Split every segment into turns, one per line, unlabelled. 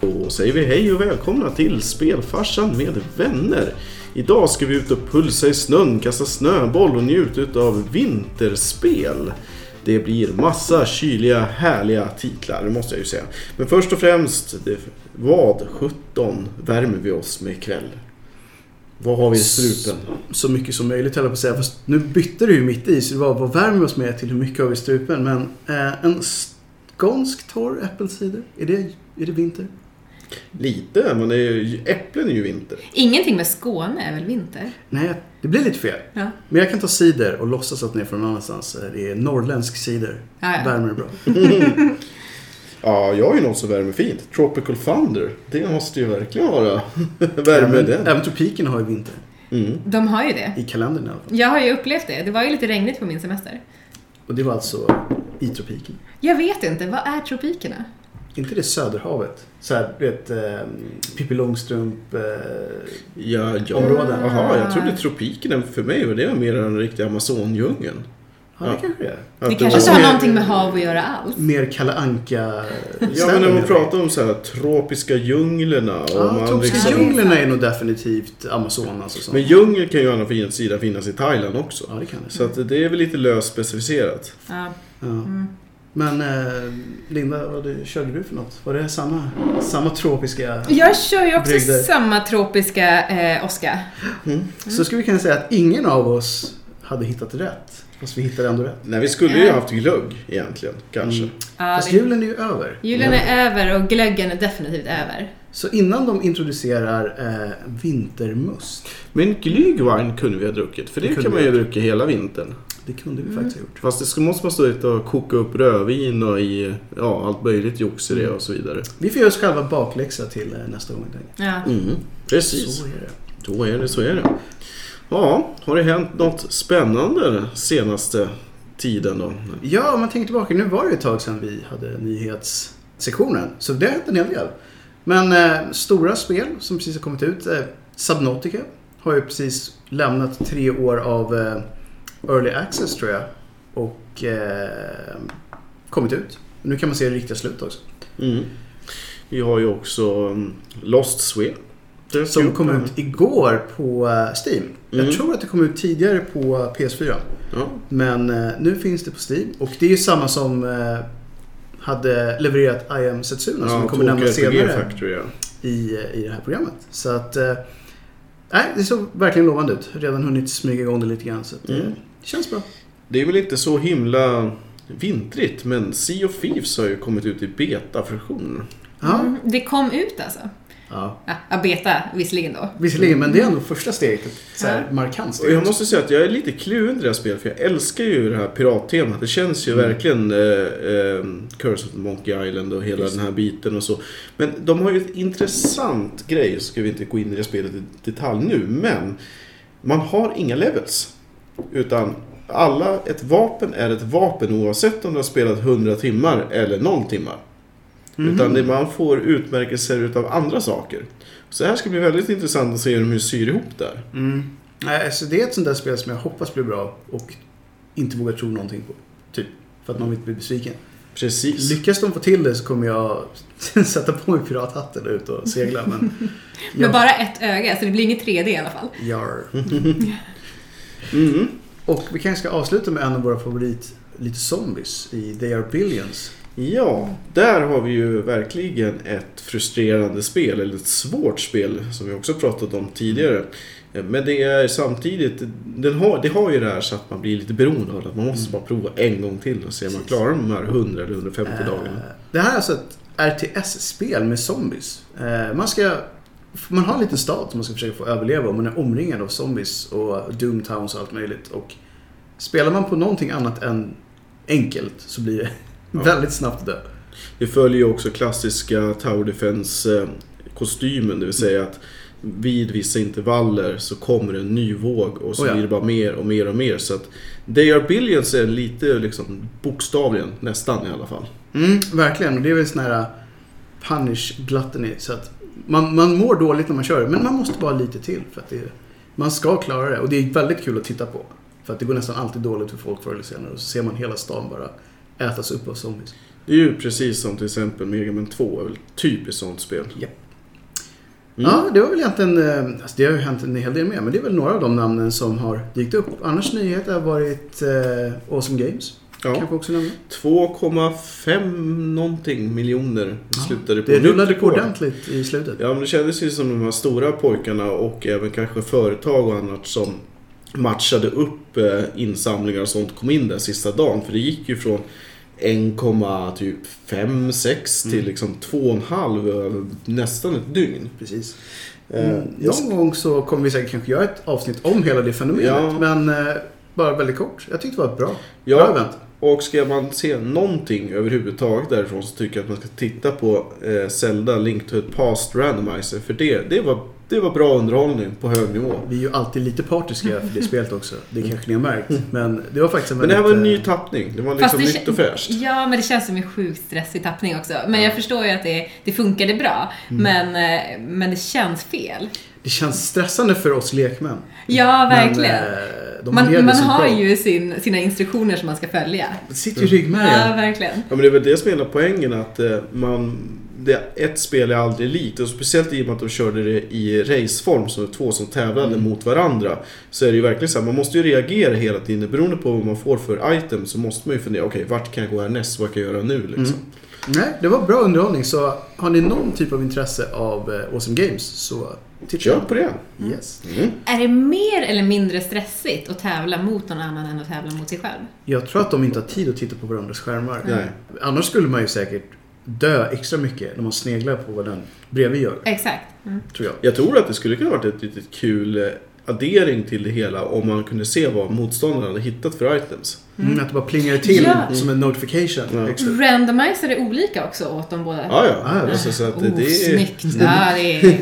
Då säger vi hej och välkomna till Spelfarsan med vänner. Idag ska vi ut och pulsa i snön, kasta snöboll och njuta av vinterspel. Det blir massa kyliga, härliga titlar, det måste jag ju säga. Men först och främst, det, vad 17 värmer vi oss med ikväll? Vad har vi i strupen?
så mycket som möjligt höll jag på att säga. Fast nu bytte du ju mitt i så det var vad värmer vi oss med till hur mycket har vi i strupen. Men eh, en skånsk torr äppelcider, är det, är det vinter?
Lite, men det är ju, äpplen är ju vinter.
Ingenting med Skåne är väl vinter?
Nej, det blir lite fel.
Ja.
Men jag kan ta cider och låtsas att den är från någon annanstans. Eh, Det är norrländsk cider.
Ja, ja.
Värmer det bra.
Ja, jag har ju något som värmer fint. Tropical Thunder. Det måste ju verkligen vara värme
även,
den.
även tropikerna har ju vinter.
Mm.
De har ju det.
I kalendern i alla fall.
Jag har ju upplevt det. Det var ju lite regnigt på min semester.
Och det var alltså i tropiken.
Jag vet inte, vad är tropikerna?
Inte det Söderhavet? Såhär, du vet, eh, Pippi Långstrump. Eh,
Ja, ja.
Områden.
Jaha, jag trodde tropikerna för mig var det mer den riktiga Amazonjungeln. Ja.
ja, det kanske det Mm. är.
Det
Att
kanske inte
var-
har någonting med hav att göra alls.
Mer Kalle Anka
Ja, men när man pratar om så här tropiska djunglerna och
Ja,
man
tropiska
liksom...
djungel.
djunglerna är nog definitivt Amazonas och sånt.
Men djungel kan ju å andra sidan finnas i Thailand också.
ja, det kan det.
Så att det är väl lite löst specificerat.
Ja.
Ja.
Mm.
Men eh, Linda, vad du, körde du för något? Var det samma, samma tropiska?
Jag kör ju också
Brygder.
samma tropiska eh, åska.
Mm.
Så skulle vi kunna säga att ingen av oss hade hittat rätt. Fast vi hittade ändå rätt.
Nej, vi skulle ju haft glögg egentligen, kanske.
Mm.
Ja,
Fast
det-
julen är ju över.
Julen är över och glöggen är definitivt över.
Så innan de introducerar eh, vintermust.
Men glühwein kunde vi ha druckit, för det,
Det kunde
kan man
vi
ju
ha
dricka hela vintern.
Det kunde
Mm.
vi faktiskt ha gjort.
Fast det ska, måste man stå ute och koka upp rödvin och i, ja, allt möjligt jox i det och så vidare.
Vi får göra oss själva bakläxa till eh, nästa gång. tänker
Ja.
Mm,
jag.
precis.
Så är det.
Då är det, så är det. Ja, har det hänt något spännande den senaste tiden då?
Ja, om man tänker tillbaka. Nu var det ju ett tag sedan vi hade nyhetssektionen. Så det har hänt en hel del. Men eh, stora spel som precis har kommit ut. Eh, Subnautica har ju precis lämnat tre år av eh, Early Access tror jag. Och eh, kommit ut. Nu kan man se det riktiga slutet också.
Mm. Vi har ju också mm, Lost Swed. Det ska
Som
upp
kom
här.
ut igår på eh, Steam.
Mm.
Jag tror att det kom ut tidigare på eh, PS4.
Ja.
Men eh, nu finns det på Steam och det är ju samma som eh, hade levererat I am Setsuna som vi
Ja,
kommer nämna
Tokyo RPG
senare
Factory ja.
i, eh, i det här programmet. Så att, eh, nej, det såg verkligen lovande ut. Redan hunnit smyga igång det lite grann så att, det
Mm.
känns bra.
Det är väl inte så himla vintrigt men Sea of Thieves har ju kommit ut i beta-version.
Ja,
Mm, det kom ut alltså.
ja.
Ja, ja, beta visserligen då.
Visserligen, men det är ändå första steget. Ett så här
Ja.
markant
Och
steg.
jag måste säga att jag är lite kluven till det här spelet för jag älskar ju det här pirattemat. Det känns ju
Mm.
verkligen eh, eh, Curse of the Monkey Island och hela
Just.
den här biten och så. Men de har ju ett intressant grej, ska vi inte gå in i det spelet i detalj nu, men man har inga levels. Utan alla, ett vapen är ett vapen oavsett om du har spelat 100 timmar eller 0 timmar.
Mhm.
Utan det, man får utmärkelser utav andra saker. Så det här ska bli väldigt intressant att se hur de syr ihop där.
Mm. Nej, så det är ett sånt där spel som jag hoppas blir bra och inte vågar tro någonting på. Typ. För att man vill inte bli besviken.
Precis.
Lyckas de få till det så kommer jag sätta på mig pirathatten och ut och segla. Men
Med bara ett öga, så det blir inget 3D i alla fall.
Jar.
Mm.
Och vi kanske ska avsluta med en av våra favorit, lite zombies, i They Are Billions.
Ja, där har vi ju verkligen ett frustrerande spel, eller ett svårt spel som vi också pratat om tidigare. Eh, Men det är samtidigt, den har, det har ju det här så att man blir lite beroende av det. Man måste bara prova en gång till och se om man
Mm. Precis.
klarar de här 100 eller 150
Eh,
dagarna.
Det här är alltså ett RTS-spel med zombies. Eh, Man ska... Man har en liten stad som man ska försöka få överleva och man är omringad av zombies och doomtowns och allt möjligt. Och spelar man på någonting annat än enkelt så blir det
Ja.
väldigt snabbt dö.
Det följer ju också klassiska Tower Defense eh, kostymen, det vill säga
Mm.
att vid vissa intervaller så kommer en ny våg och så
Oh ja.
blir det bara mer och mer och mer. Så att They Are Billions är lite liksom bokstavligen, nästan i alla fall.
Mm, verkligen. Och det är väl sån här äh, punish gluttony. Så att man, man mår dåligt när man kör det, men man måste bara lite till. För att det, man ska klara det och det är väldigt kul att titta på. För att det går nästan alltid dåligt för folk förr eller senare och så ser man hela stan bara ätas upp av zombies.
Det är ju precis som till exempel Mega Man 2, är väl typiskt sånt spel. Mm.
Ja, det var väl egentligen... eh, Alltså det har ju hänt en hel del mer, men det är väl några av de namnen som har dykt upp. Annars nyhet har varit eh, Awesome Games.
Ja.
Kanske också nämna.
2,5 någonting miljoner slutade på
Det
nytt
rullade på
rekord.
ordentligt i slutet.
Ja, men det kändes ju som de här stora pojkarna och även kanske företag och annat som matchade upp eh, insamlingar och sånt kom in där sista dagen. För det gick ju från 1,56 till
Mm.
liksom 2,5 över nästan ett dygn.
Precis.
Eh,
Mm.
jag
Någon gång så kommer vi säkert kanske göra ett avsnitt om hela det fenomenet.
Ja.
Men eh, bara väldigt kort. Jag tyckte det var ett bra,
Ja.
bra event.
Och ska man se någonting överhuvudtaget därifrån så tycker jag att man ska titta på eh, Zelda Link to the Past Randomizer. För det, det, var, det var bra underhållning på hög nivå.
Vi är ju alltid lite partiska för det spelet också. Det kanske ni har märkt. Men det var faktiskt en
Mm. Men det här var en ny
väldigt, eh,
tappning. Det var
Fast
liksom
det
nytt
kä-
och fräscht.
Ja, men det känns som en sjukt stressig tappning också. Men jag förstår ju att det, det funkade bra. Men, eh, men det känns fel.
Det känns stressande för oss lekmän.
Ja, verkligen.
Men, eh, de hanterade det
man man
så
har
bra.
ju sin, sina instruktioner som man ska följa.
Det sitter ju i ryggmärgen.
Ja, verkligen.
Ja, men det är väl det som är hela poängen att eh, man... Det, ett spel är aldrig likt och speciellt i och med att de körde det i raceform så det var två som tävlade
Mm.
mot varandra. Så är det ju verkligen så här, man måste ju reagera hela tiden. Beroende på vad man får för item så måste man ju fundera, okej vart kan jag gå härnäst? Vad kan jag göra nu liksom?
Mm.
Nej, det var bra underhållning. Så har ni någon typ av intresse av eh, Awesome Games så titta.
Kör på det!
Yes.
Mm.
Är det mer eller mindre stressigt att tävla mot någon annan än att tävla mot sig själv?
Jag tror att de inte har tid att titta på varandras skärmar.
Nej.
Annars skulle man ju säkert dö extra mycket när man sneglar på vad den bredvid gör,
Exakt. Mm.
tror jag.
Jag tror att det skulle kunna varit ett litet kul eh, addering till det hela om man kunde se vad motståndaren hade hittat för items.
Mm, att det bara plingar till
Ja.
som en notification.
Ja. Mm.
Extra.
Randomizer är olika också åt de båda.
Ah, ja,
Ah, ja.
Alltså, så att det,
oh,
det är...
snyggt. Ja, det är...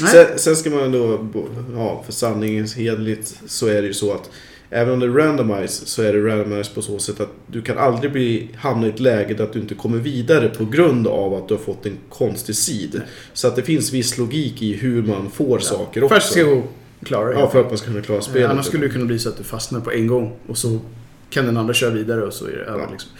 Nej.
Sen, sen ska man då, ja, för sanningens hederligt så är det ju så att även om det är randomized så är det randomized på så sätt att du kan aldrig bli, hamna i ett läge där att du inte kommer vidare på grund av att du har fått en konstig sid. Så att det finns viss logik i hur man får saker också.
Först ska jag klara
ja,
det.
för att man ska kunna klara spelet.
Eh, Annars skulle det kunna bli så att du fastnar på en gång och så kan den andra köra vidare och så är det över.
Ja.
Liksom.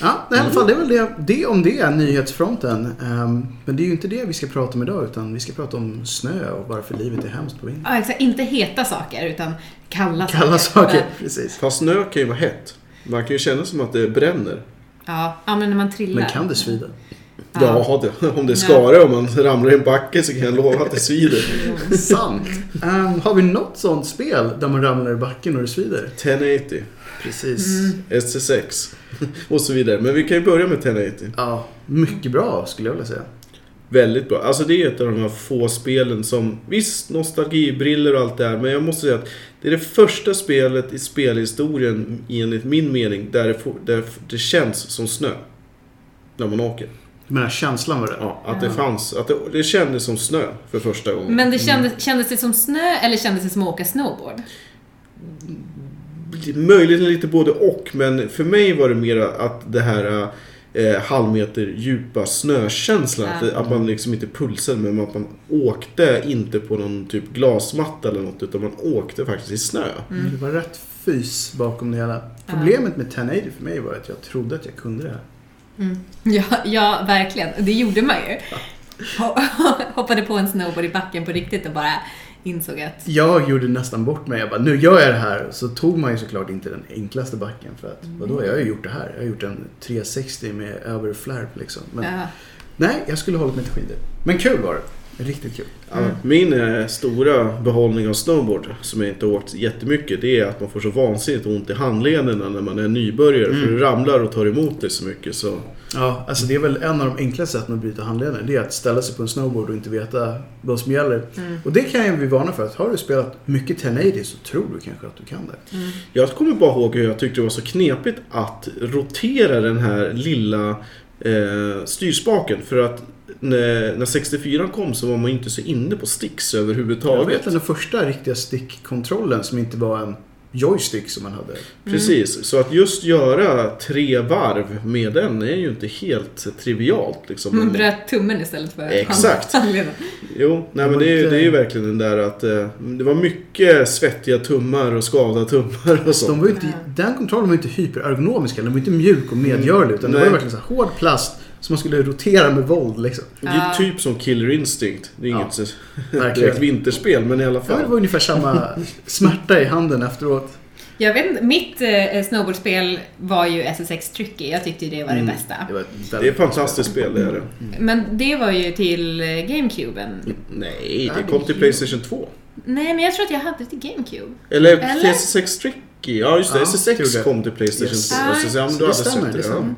Ja, nej, i alla fall, det är väl det, det om det, är nyhetsfronten. Ehm, men det är ju inte det vi ska prata om idag, utan vi ska prata om snö och varför livet är hemskt på vintern.
ja, exakt. Inte heta saker, utan kalla,
Kalla saker, precis.
Fast snö kan ju vara hett. Man kan ju känna som att det bränner.
Ja, ja men när man trillar.
Men kan det svida?
Ja.
Ja, det, om det är skare och man ramlar i en backe så kan jag lova att det svider.
Mm.
Sant. Ehm, har vi något sånt spel där man ramlar i backen och det svider?
1080,
Precis.
Mm. SC6 och så vidare. Men vi kan ju börja med 1080.
Ja, mycket bra skulle jag vilja säga.
Väldigt bra. Alltså det är ett av de här få spelen som, visst nostalgibriller och allt det här, men jag måste säga att det är det första spelet i spelhistorien, enligt min mening, där det, får, där det känns som snö. När man åker.
Du menar känslan var det?
Ja, att det fanns, att det, det kändes som snö för första gången.
Men det kändes, kändes det som snö eller kändes det som att åka snowboard?
Möjligen lite både och, men för mig var det mer att det här eh, halvmeter djupa snökänslan. Att, det- att man liksom inte pulsade, men att man åkte inte på någon typ glasmatta eller något, utan man åkte faktiskt i snö.
Mm.
Det var rätt fys bakom det hela. Problemet med 1080 för mig var att jag trodde att jag kunde det här.
Mm. Ja, ja, verkligen. Det gjorde man ju. Ho- Hoppade på en snowboard i backen på riktigt och bara insåg att...
Jag gjorde nästan bort mig. Jag bara, nu gör jag det här. Så tog man ju såklart inte den enklaste backen. För att, vadå, jag har ju gjort det här. Jag har gjort en 360 med överflärp liksom. Men,
Ja.
Nej, jag skulle hållit mig till skidor. Men kul var det. Riktigt kul.
Ja, Min eh, stora behållning av snowboard, som jag inte har åkt jättemycket, det är att man får så vansinnigt ont i handlederna när man är nybörjare. För du ramlar och tar emot dig så mycket. Så.
Ja, alltså det är väl en av de enklaste sätten att bryta handleden. Det är att ställa sig på en snowboard och inte veta vad som gäller.
mm,
Och det kan jag ju varna för. Att har du spelat mycket 1080 så tror du kanske att du kan det.
mm.
Jag kommer bara ihåg hur jag tyckte det var så knepigt att rotera den här lilla eh, styrspaken. För att när, när 64 kom så var man inte så inne på sticks
Jag
överhuvudtaget.
vet att den första riktiga stickkontrollen som inte var en joystick som man hade.
Precis, så att just göra tre varv med den är ju inte helt trivialt. Liksom.
Mm.
Man bröt tummen istället för
Exakt.
handleden.
Jo, nej, men det är, ju, det är ju verkligen den där att eh, det var mycket svettiga tummar och skavda tummar och
De
sånt.
var ju inte, den kontrollen var ju inte hyperergonomisk, eller den var ju inte mjuk och medgörlig utan det var
Nej.
ju verkligen så här hård plast som man skulle rotera med våld liksom.
Det är ju typ som Killer Instinct. Det är
Ja,
inget så- direkt
verkligen.
vinterspel, men i alla
Ja, det
fall.
var ungefär samma smärta i handen efteråt.
Jag vet inte, mitt eh, snowboardspel var ju SSX Tricky. Jag tyckte ju det var det bästa.
Det var ett
Det är
väldigt...
ett fantastiskt spel, det är det.
Men det var ju till eh, GameCuben.
Mm. Nej, det kom till Playstation 2.
Nej, men jag tror att jag hade det till GameCube.
Eller,
Eller?
SSX Tricky. Ja, just det.
Ja, tror
SSX
det.
kom till Playstation
Yes.
2. Så, ja, men
Så
du
det
hade
stämmer,
sett
det
det. Ja.
stämmer.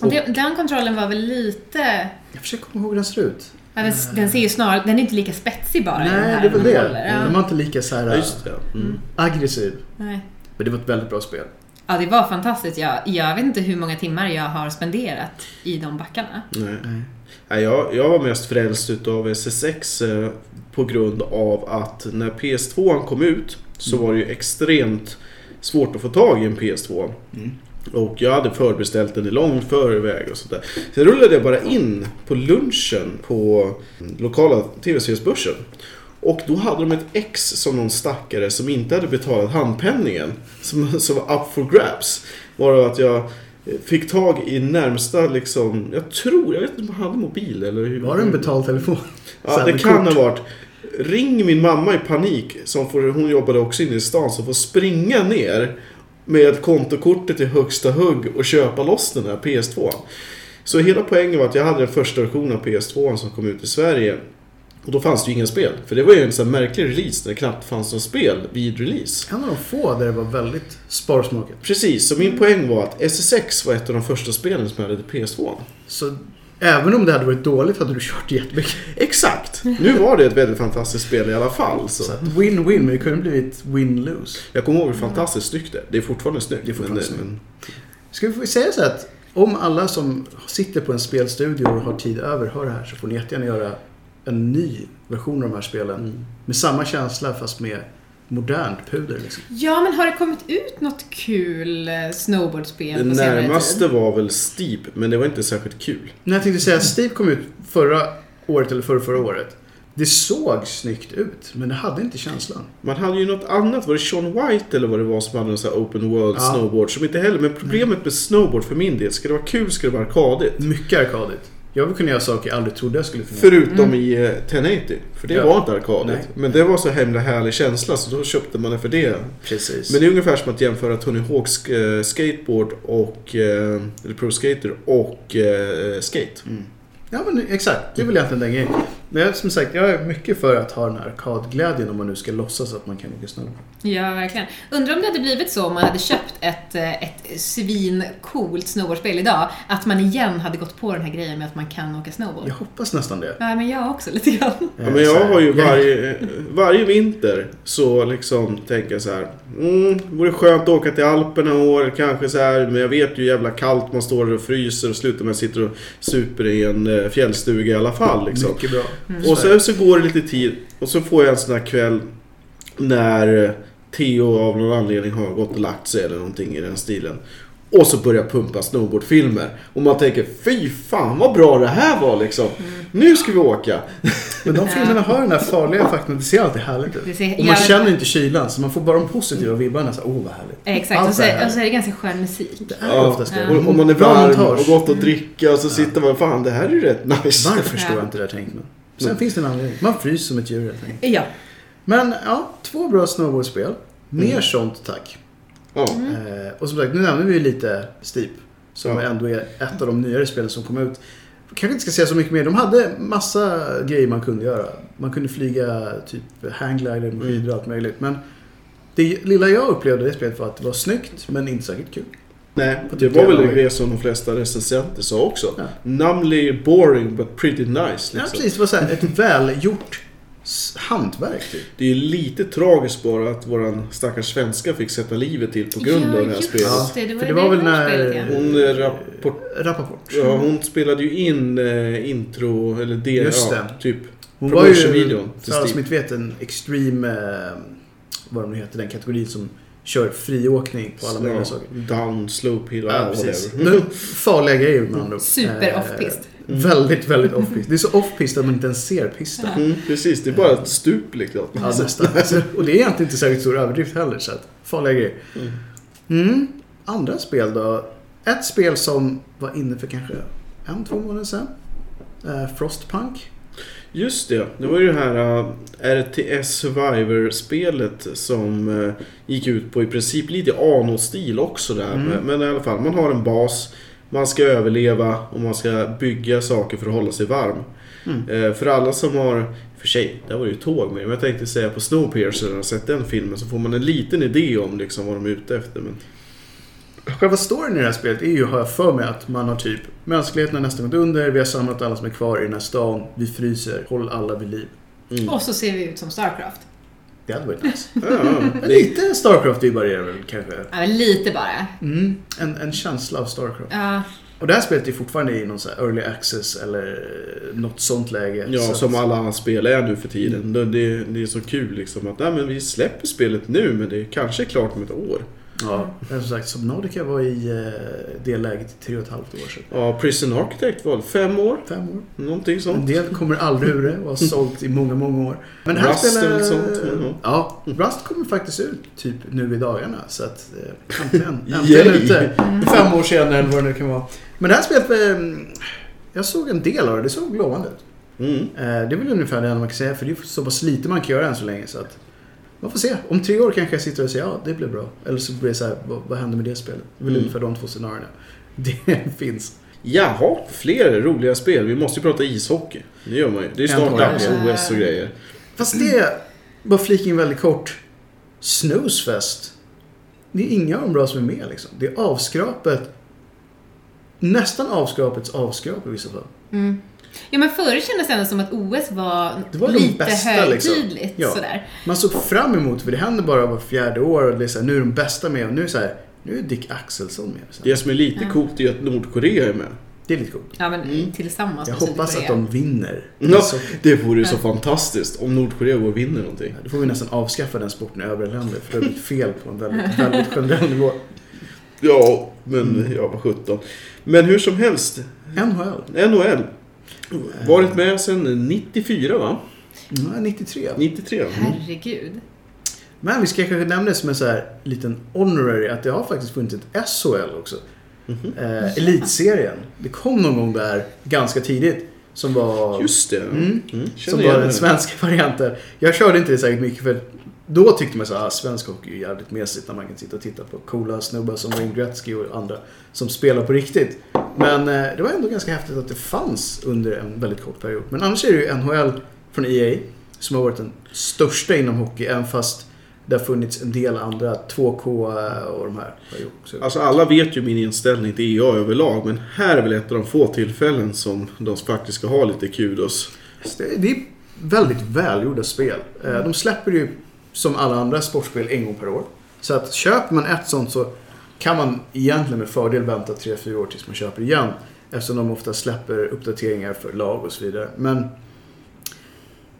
Och det, den kontrollen var väl lite...
Jag försöker komma ihåg hur den ser ut.
Ja, den, den ser ju snarare... Den är inte lika spetsig bara. den
Nej,
här
det Mm. var
när man
det.
håller.
Den
Ja.
var inte lika så
Ja,
här
just det. Mm.
aggressiv.
Nej.
Men det var ett väldigt bra spel.
ja, det var fantastiskt. Jag, jag vet inte hur många timmar jag har spenderat i de backarna.
Nej. Nej, jag, jag var mest frälst utav SSX eh, på grund av att när PS2 kom ut så
Mm.
var det ju extremt svårt att få tag i en PS2.
Mm.
Och jag hade förbeställt den i långt förväg och sådär. Sen rullade jag bara in på lunchen på lokala TV-seriesbörsen. Och då hade de ett ex som någon stackare som inte hade betalat handpenningen. Som, som var up for grabs. Varav att jag eh, fick tag i närmsta liksom, jag tror, jag vet inte om han hade mobil eller hur.
Var det en betaltelefon? Så
Ja,
här
det
med
kan
kort.
ha varit. Ring min mamma i panik, som får, hon jobbade också inne i stan, som får springa ner med kontokortet i högsta hugg och köpa loss den här PS2. Så hela poängen var att jag hade den första versionen av PS2 som kom ut i Sverige. Och då fanns det ju inga spel. För det var ju en sån här märklig release när det knappt fanns några spel vid release.
En av de få där det var väldigt sparsmakat.
Precis, så min poäng var att SSX var ett av de första spelen som jag hade till PS2.
Så även om det hade varit dåligt hade du kört jättemycket.
Exakt! Nu var det ett väldigt fantastiskt spel i alla fall. Så.
Så att Win-win, men det kunde blivit win-lose.
Jag kommer ihåg hur fantastiskt snyggt det är. Det är fortfarande snyggt.
Det är fortfarande
men,
snyggt. Ska vi få säga så här att om alla som sitter på en spelstudio och har tid över hör det här så får ni jättegärna göra en ny version av de här spelen. Med samma känsla fast med modernt puder. Liksom.
Ja, men har det kommit ut något kul eh, snowboardspel
men
på
det
senare tid?
närmaste var väl Steep, men det var inte särskilt kul.
När jag tänkte säga att Steve kom ut förra året eller förra, förra året. Det såg snyggt ut men det hade inte känslan.
Man hade ju något annat, var det Sean White eller vad det var som hade en sån här open world
Ja. Mm.
snowboard som inte heller, men problemet med snowboard för min del, ska det vara kul ska det vara arkadigt.
Mycket arkadigt. Jag vill kunna göra saker jag aldrig trodde jag skulle kunna göra.
Förutom i eh, 1080, för det
Ja.
var inte arkadigt.
Nej.
Men det var så himla härlig känsla så då köpte man det för det.
Mm. Precis.
Men det är ungefär som att jämföra Tony Hawks eh, skateboard och, eh, eller Pro Skater och eh, skate.
Mm. Ja men exakt, det är väl egentligen den grejen. Men jag, som sagt, jag är mycket för att ha den här arkadglädjen om man nu ska låtsas att man kan åka snowboard.
Ja, verkligen. Undrar om det hade blivit så om man hade köpt ett, eh, ett svincoolt snowboardspel idag, att man igen hade gått på den här grejen med att man kan åka snowboard.
Jag
Ja,
hoppas nästan det.
men jag också lite grann.
Ja,
Eh,
men jag har ju
Jag-
varje, varje vinter så liksom tänker jag så här. Mm, vore skönt att åka till Alperna i år kanske så här. Men jag vet ju hur jävla kallt man står där och fryser och slutar med att sitta och super i en eh, fjällstuga i alla fall liksom.
Mycket bra.
Och sen så går det lite tid och så får jag en sån här kväll när eh, Theo av någon anledning har gått och lagt sig eller någonting i den stilen. Och så börjar pumpa snowboardfilmer. Och man tänker fy fan vad bra det här var liksom. Nu ska vi åka.
Men de filmerna har den här farliga faktorn, det ser alltid härligt
Det
ut.
ser-
Och man
jag-
känner inte kylan, så man får bara de positiva vibbarna. Så, här, Åh, vad härligt.
Exakt,
Allt
och så,
det här.
och så är det ganska skön musik.
Det är
Ja,
oftast det.
och, och man är
Bra
varm
montage. Mm.
och gott att dricka och så sitter man fan det här är ju rätt nice.
Varför förstår
Ja.
jag inte det här tänkt men. Sen finns det en anledning. Man fryser som ett djur helt enkelt.
Ja.
Men ja, två bra snowboardspel. Mer sånt tack.
Ja.
Mm.
Eh, och som sagt, nu nämner vi ju lite Steep. Som
Ja.
ändå är ett av de nyare spelen som kom ut. Kanske inte ska säga så mycket mer. De hade massa grejer man kunde göra. Man kunde flyga typ hanglider med skidor och allt möjligt. Men det lilla jag upplevde i det spelet var att det var snyggt men inte särskilt kul.
Nej,
Vad
det
tycker
var
jag
väl
om-
det som de flesta recensenter sa också.
typ Ja.
Numbly boring but pretty nice.
Ja,
Liksom.
precis. Det var så här, ett välgjort s- hantverk typ.
det är lite tragiskt bara att våran stackars svenska fick sätta livet till på grund av det här
just
spelet.
Ja.
det. Det var,
För
det var väl när...
Ja.
Hon, eh, rapport,
Rappaport.
ja, hon spelade ju in eh, intro, eller det,
Just
ja,
det.
typ.
Hon var ju,
Promotion-videon till
för alla som
Steam.
inte vet, en extreme, eh, vad de nu heter, den kategorin som kör friåkning på alla möjliga saker.
Down, slope hill,
Ja,
ja,
precis.
whatever. Mm.
Nu, farliga grejer med andra ord.
Super
Eh,
off-pist.
Väldigt, väldigt off-pist. Det är så off-pist att man inte ens ser pisten.
Mm, precis, det är bara ett stup liksom.
Ja, nästan. Alltså, och det är egentligen inte särskilt stor överdrift heller, så att, farliga grejer.
Mm.
Mm. Andra spel då? Ett spel som var inne för kanske en, två månader sedan. Eh, Frostpunk.
Just det, det var ju det här eh, RTS Survivor-spelet som eh, gick ut på i princip lite Ano-stil också där.
Mm.
Men, men i alla fall, man har en bas, man ska överleva och man ska bygga saker för att hålla sig varm.
Mm.
Eh, För alla som har, i och för sig, där var det ju tåg med men jag tänkte säga på Snowpiercer, när jag sett den filmen så får man en liten idé om liksom vad de är ute efter. Men
Själva storyn i det här spelet är ju, har jag för mig, att man har typ Mänskligheten har nästan gått under, vi har samlat alla som är kvar i den här stan, vi fryser, håll alla vid liv.
Mm.
Och så ser vi ut som Starcraft.
Det hade varit nice.
Ja, ja,
Men
det,
lite Starcraft i varierar väl kanske.
Ja, men lite bara.
Mm, en, en känsla av Starcraft.
Ja,
Och det här spelet är fortfarande i någon så här early access eller något sånt läge.
ja,
så
som
att,
alla andra spel är nu för tiden. Det, det, det är så kul liksom att nej, men vi släpper spelet nu men det är kanske är klart om ett år.
ja, men som sagt, Subnautica var i eh, det läget i tre och ett halvt år sedan.
Ja, Prison Architect var det fem år,
Fem år.
någonting
En
sånt.
del kommer aldrig ur det och har sålt i många, många år. Men det här
Rust är
spelar-
väl sånt, Mm. men ja.
Ja, Rust kommer faktiskt ut typ nu i dagarna. Så att eh, äntligen, äntligen
Yay!
ute.
mm,
Fem år senare eller vad det nu kan vara. Men det här spelet, eh, jag såg en del av det. Det såg lovande ut.
Mm.
Eh, Det är väl ungefär det enda man kan säga, för det är så pass lite man kan göra än så länge. Så att man får se. Om tre år kanske jag sitter och säger ja, det blev bra. Eller så blir det så här, vad, vad hände med det spelet? Det är väl
Mm.
ungefär de två scenarierna. Det finns.
Jaha, fler roliga spel. Vi måste ju prata ishockey. Det gör man ju. Det är snart
Äntligen.
dags OS och grejer.
Fast det, bara flika in väldigt kort. Snusfest. Det är inga av de bra som är med liksom. Det är avskrapet. Nästan avskrapets avskrap i vissa fall.
mm. ja, men förr kändes det ändå som att OS var,
Det var de
lite
bästa,
högtidligt.
liksom. Ja.
Sådär.
Man såg fram emot, för det händer bara var fjärde år och det är så här, nu är de bästa med och nu är det så här, nu är Dick Axelsson med. Så här,
Det som är lite
Ja.
coolt är ju att Nordkorea är med.
Det är lite coolt.
Ja, men
Mm.
tillsammans
Jag
med
hoppas att
Sydkorea.
de vinner.
Ja,
Så-
det vore ju så fantastiskt om Nordkorea går och vinner någonting.
Då får vi nästan avskaffa den sporten i övriga länder för det har blivit fel på en väldigt, väldigt generell nivå.
Ja, men jag var 17. Men hur som helst,
NHL?
NHL. Varit med sedan 94 va?
Ja, 93.
93? Mm.
Herregud.
Men vi ska kanske nämna det som en så här liten honorary att det har faktiskt funnits ett SHL också.
Mhm.
Eh, elitserien. Det kom någon gång där ganska tidigt som var,
Just det.
Mm.
Känner
som var
igen
den
det.
svenska varianten. Jag körde inte det särskilt mycket för då tyckte man så här, ah, svensk hockey är ju jävligt mesigt när man kan sitta och titta på coola snubbar som Wayne Gretzky och andra som spelar på riktigt. Men eh, det var ändå ganska häftigt att det fanns under en väldigt kort period. Men annars är det ju NHL från EA som har varit den största inom hockey, även fast det har funnits en del andra, 2K och de här. har ju också-
Alltså alla vet ju min inställning till EA överlag men här är väl ett av de få tillfällen som de faktiskt ska ha lite kudos.
Så Det det är väldigt välgjorda spel. Eh, De släpper ju som alla andra sportspel en gång per år. Så att köper man ett sånt så kan man egentligen med fördel vänta 3-4 år tills man köper igen. Eftersom de ofta släpper uppdateringar för lag och så vidare. Men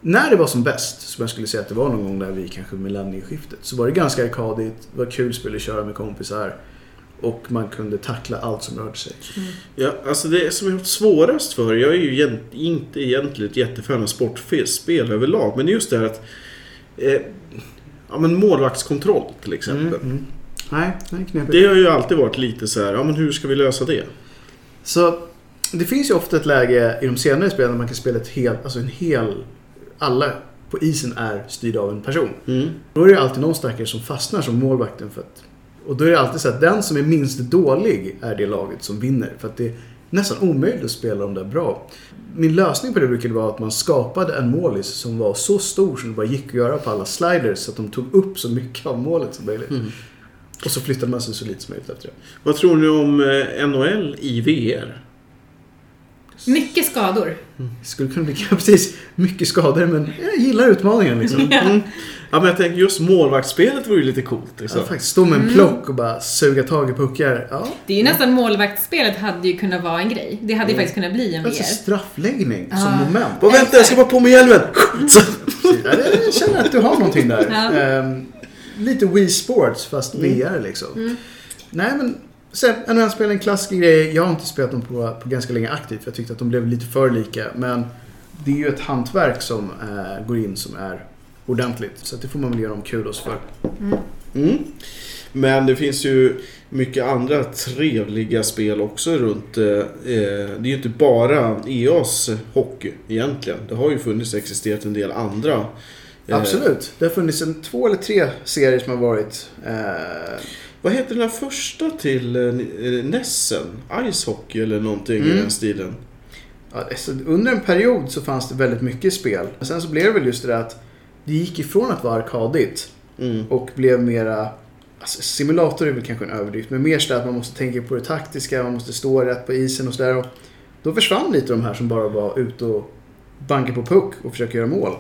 när det var som bäst, som jag skulle säga att det var någon gång där vi kanske millennieskiftet, så var det ganska arkadigt, det var kul spel att köra med kompisar och man kunde tackla allt som rörde sig.
Mm.
Ja, alltså det som jag har haft svårast för, jag är ju egent, inte egentligen ett jättefan av sportspel överlag, men just det här att eh, ja, men målvaktskontroll till exempel.
Nej, det är knepigt.
Det har ju alltid varit lite så här, ja men hur ska vi lösa det?
Så det finns ju ofta ett läge i de senare spelen där man kan spela ett hel, alltså en hel, alla på isen är styrda av en person.
Mm.
Då är det ju alltid någon stackare som fastnar som målvakten för att, och då är det alltid så att den som är minst dålig är det laget som vinner för att det är nästan omöjligt att spela de där bra. Min lösning på det brukade vara att man skapade en målis som var så stor som det bara gick att göra på alla sliders så att de tog upp så mycket av målet som möjligt. Och så flyttade man sig så lite som möjligt efter det.
Vad tror ni om eh, NHL i VR?
Mycket skador.
Skulle kunna bli precis mycket skador men jag gillar utmaningen liksom.
Mm. Ja men jag tänker just målvaktsspelet vore ju lite coolt. Liksom.
Att faktiskt stå med en plock och bara suga tag i puckar. Ja,
Mm. Det är ju nästan målvaktsspelet hade ju kunnat vara en grej. Det hade ju faktiskt kunnat bli en VR.
alltså straffläggning som
Ah.
moment.
Vad vänta, jag ska bara på mig hjälmen! Så-
Precis. Ja, Jag känner att du har någonting där.
Ja. Mm.
Ehm, lite Wii Sports fast VR liksom. Nej men, sen, NHL-spel är en klassisk grej. Jag har inte spelat dem på, på ganska länge aktivt för jag tyckte att de blev lite för lika. Men det är ju ett hantverk som eh, går in som är ordentligt. Så att det får man väl göra dem kudos för.
Mm. Men det finns ju mycket andra trevliga spel också runt... eh, eh, Det är ju inte bara EAs hockey egentligen. Det har ju funnits existerat en del andra. eh,
Absolut. Det har funnits en två eller tre serier som har varit... Eh,
Vad heter den här första till eh, Nessen? Ice Hockey eller någonting i
Mm.
den stilen.
Ja, alltså, under en period så fanns det väldigt mycket spel. Men sen så blev det väl just det där att det gick ifrån att vara arkadigt
Mm.
och blev mera... Alltså, simulator är väl kanske en överdrift, men mer sådär att man måste tänka på det taktiska, man måste stå rätt på isen och sådär. Och Då försvann lite de här som bara var ute och banka på puck och försöka göra mål.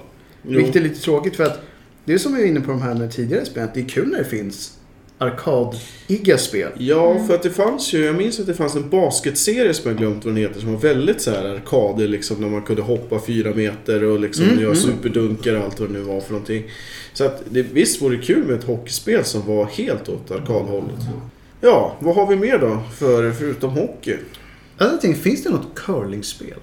Jo.
Vilket är lite tråkigt för att det är som vi var inne på de här med tidigare spelen, att det är kul när det finns arkadiga spel.
Ja,
Mm.
för att det fanns ju, jag minns att det fanns en basketserie som jag glömt vad den heter, som var väldigt så här arkader liksom, när man kunde hoppa fyra meter och liksom
Mm,
göra
mm.
superdunkar och allt vad det nu var för någonting. Så att det, visst vore det kul med ett hockeyspel som var helt åt arkadhållet. Ja, vad har vi mer då, för, förutom hockey?
Jag tänkte, finns det något curlingspel?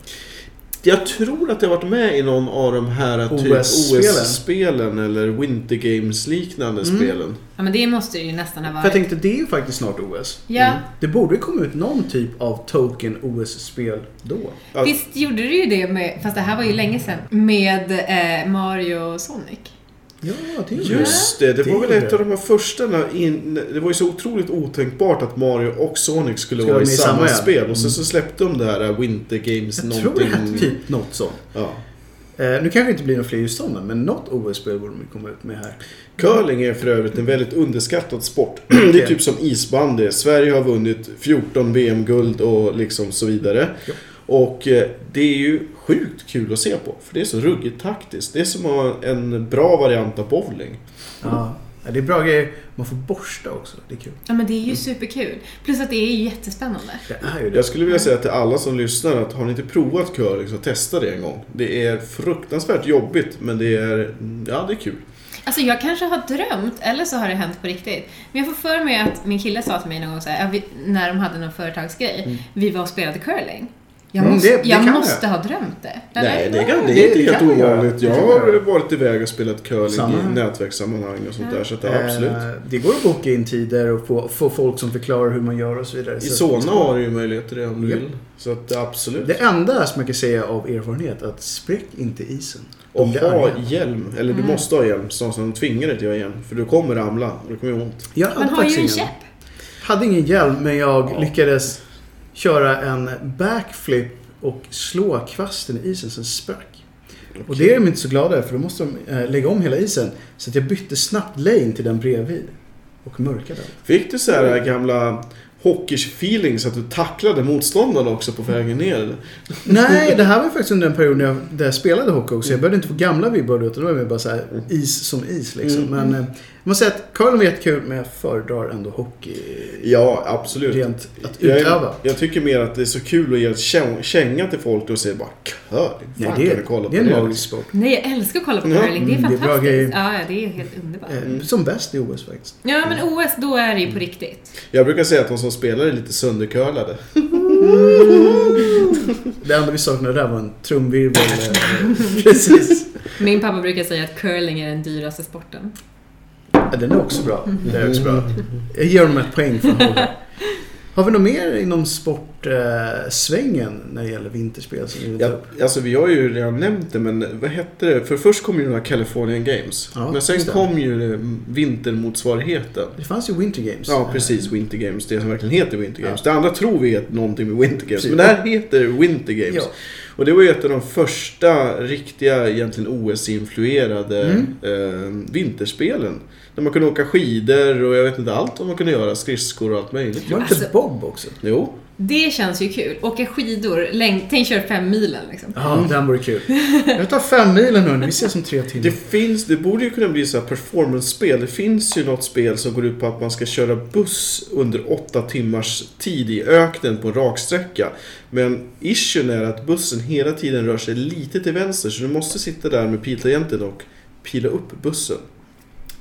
Jag tror att jag varit med i någon av de här typ
OS-spelen.
OS-spelen eller Winter Games-liknande
Mm.
spelen.
Ja, men det måste det ju nästan ha
För jag
varit.
tänkte, det är ju faktiskt snart OS.
Ja,
Det borde ju komma ut någon typ av token OS-spel då.
Ja.
visst gjorde du ju det med, fast det här var ju länge sedan, med eh, Mario och Sonic.
Ja, det är
Just det, det
Det
var väl
är
ett
det.
av de här första när in, det var ju så otroligt otänkbart att Mario och Sonic skulle
Skulle
vara i
vara med i
samma
samma, ja.
spel. Och sen så släppte de det här äh, Winter Games
Jag tror
någonting.
det hette typ något sånt.
ja.
Eh, nu kanske det inte blir några fler just sådana, men något OS-spel borde de komma ut med här.
Curling är för övrigt en väldigt underskattad sport. Det är typ som isbandy. Sverige har vunnit 14 VM-guld och liksom så vidare.
Ja.
Och eh, det är ju sjukt kul att se på. För det är så ruggigt taktiskt. Det är som att ha en bra variant av bowling.
Ja, ja, det är bra grejer. Man får borsta också, det är kul.
Ja, men det är
Mm.
ju superkul. Plus att det är ju jättespännande.
Det är ju
Jag
det.
skulle vilja säga till alla som lyssnar att har ni inte provat curling så testa det en gång. Det är fruktansvärt jobbigt men det är, ja det är kul.
Alltså jag kanske har drömt, eller så har det hänt på riktigt. Men jag får för mig att min kille sa till mig någon gång så här, ja, vi, när de hade någon företagsgrej, vi var och spelade curling. Jag
Mm,
måste,
det- det
jag
kan
måste ha drömt det. eller?
Nej, det, kan,
det
det är inte
kan
helt
man göra.
ovanligt. Jag
Det kan man
har
göra.
varit iväg och spelat curling
Samma
i
här.
nätverkssammanhang och sånt där så att, ja,
Eh,
absolut.
Det går att boka in tider och få, få folk som förklarar hur man gör och så vidare.
I
Så-
Solna har du ju möjlighet till det om du
Japp.
vill. Så att absolut.
Det enda som jag kan säga av erfarenhet är att spräck inte isen. De
Och
blir
ha
arga.
hjälm. Eller du måste ha hjälm. Snarare som de tvingar dig till att ha hjälm. För du kommer ramla och det kommer göra ont.
Jag
Man
hade
har
faktiskt
ju en
ingen-
käpp.
Hade ingen hjälm men jag
Ja.
lyckades köra en backflip och slå kvasten i isen så den sprack. Och det är de inte så glada över för då måste de eh, lägga om hela isen. Så att jag bytte snabbt lane till den bredvid. Och mörkade den.
Fick du så här gamla hockey-feeling så att du tacklade motståndaren också på vägen ner? eller?
Nej, det här var faktiskt under en period när jag, där jag spelade hockey
Mm.
också. Jag började inte få gamla vibbar utan det var mer bara så här is som is liksom.
Mm.
Men eh, jag måste säga att curling var jättekul men jag föredrar ändå hockey.
Ja, absolut.
Rent att
Jag,
utöva.
jag tycker mer att det är så kul att ge en käng- känga till folk och säga bara curling.
Ja,
Fan,
det,
kan du kolla
är, det är
på
en
det?
magisk sport.
Nej, jag älskar att kolla på
Ja,
curling. Det är
mm, det är bra
fantastiskt.
grejer.
ja, ja, det är helt underbart.
Eh,
Mm.
mm. Som bäst i OS faktiskt.
Ja, men OS, då är det ju på riktigt.
Jag brukar säga att de som spelar är lite söndercurlade.
Det enda vi saknade där var en trumvirvel. eh, Precis.
Min pappa brukar säga att curling är den dyraste sporten.
Ja, den är också bra. Den är också bra. Jag ger dem ett poäng för hålla. Har vi något mer inom sportsvängen när det gäller vinterspel som vi vill ta
Jag,
upp?
alltså vi har ju redan nämnt det, men vad hette det? För först kom ju den här Californian Games.
Ja,
men sen
just det.
kom ju eh, vintermotsvarigheten.
Det fanns ju Winter Games.
Ja, precis. Winter Games. Det som verkligen heter Winter Games. Det andra tror vi är någonting med Winter Games. Men det här heter Winter Games.
Ja.
Och det var ju ett av de första riktiga, egentligen OS-influerade
Mm.
eh, vinterspelen. Där man kunde åka skidor och jag vet inte allt vad man kunde göra. Skridskor och allt möjligt.
Var det inte
Alltså-
Bob också?
Jo.
Det känns ju kul. Åka skidor, läng- tänk köra fem milen liksom.
Ja,
Mm.
den vore kul. Jag tar fem milen hörni, vi ses om tre timmar.
Det finns, det borde ju kunna bli så här performance-spel. Det finns ju något spel som går ut på att man ska köra buss under åtta timmars tid i öknen på en raksträcka. Men issuen är att bussen hela tiden rör sig lite till vänster så du måste sitta där med piltangenten och pila upp bussen.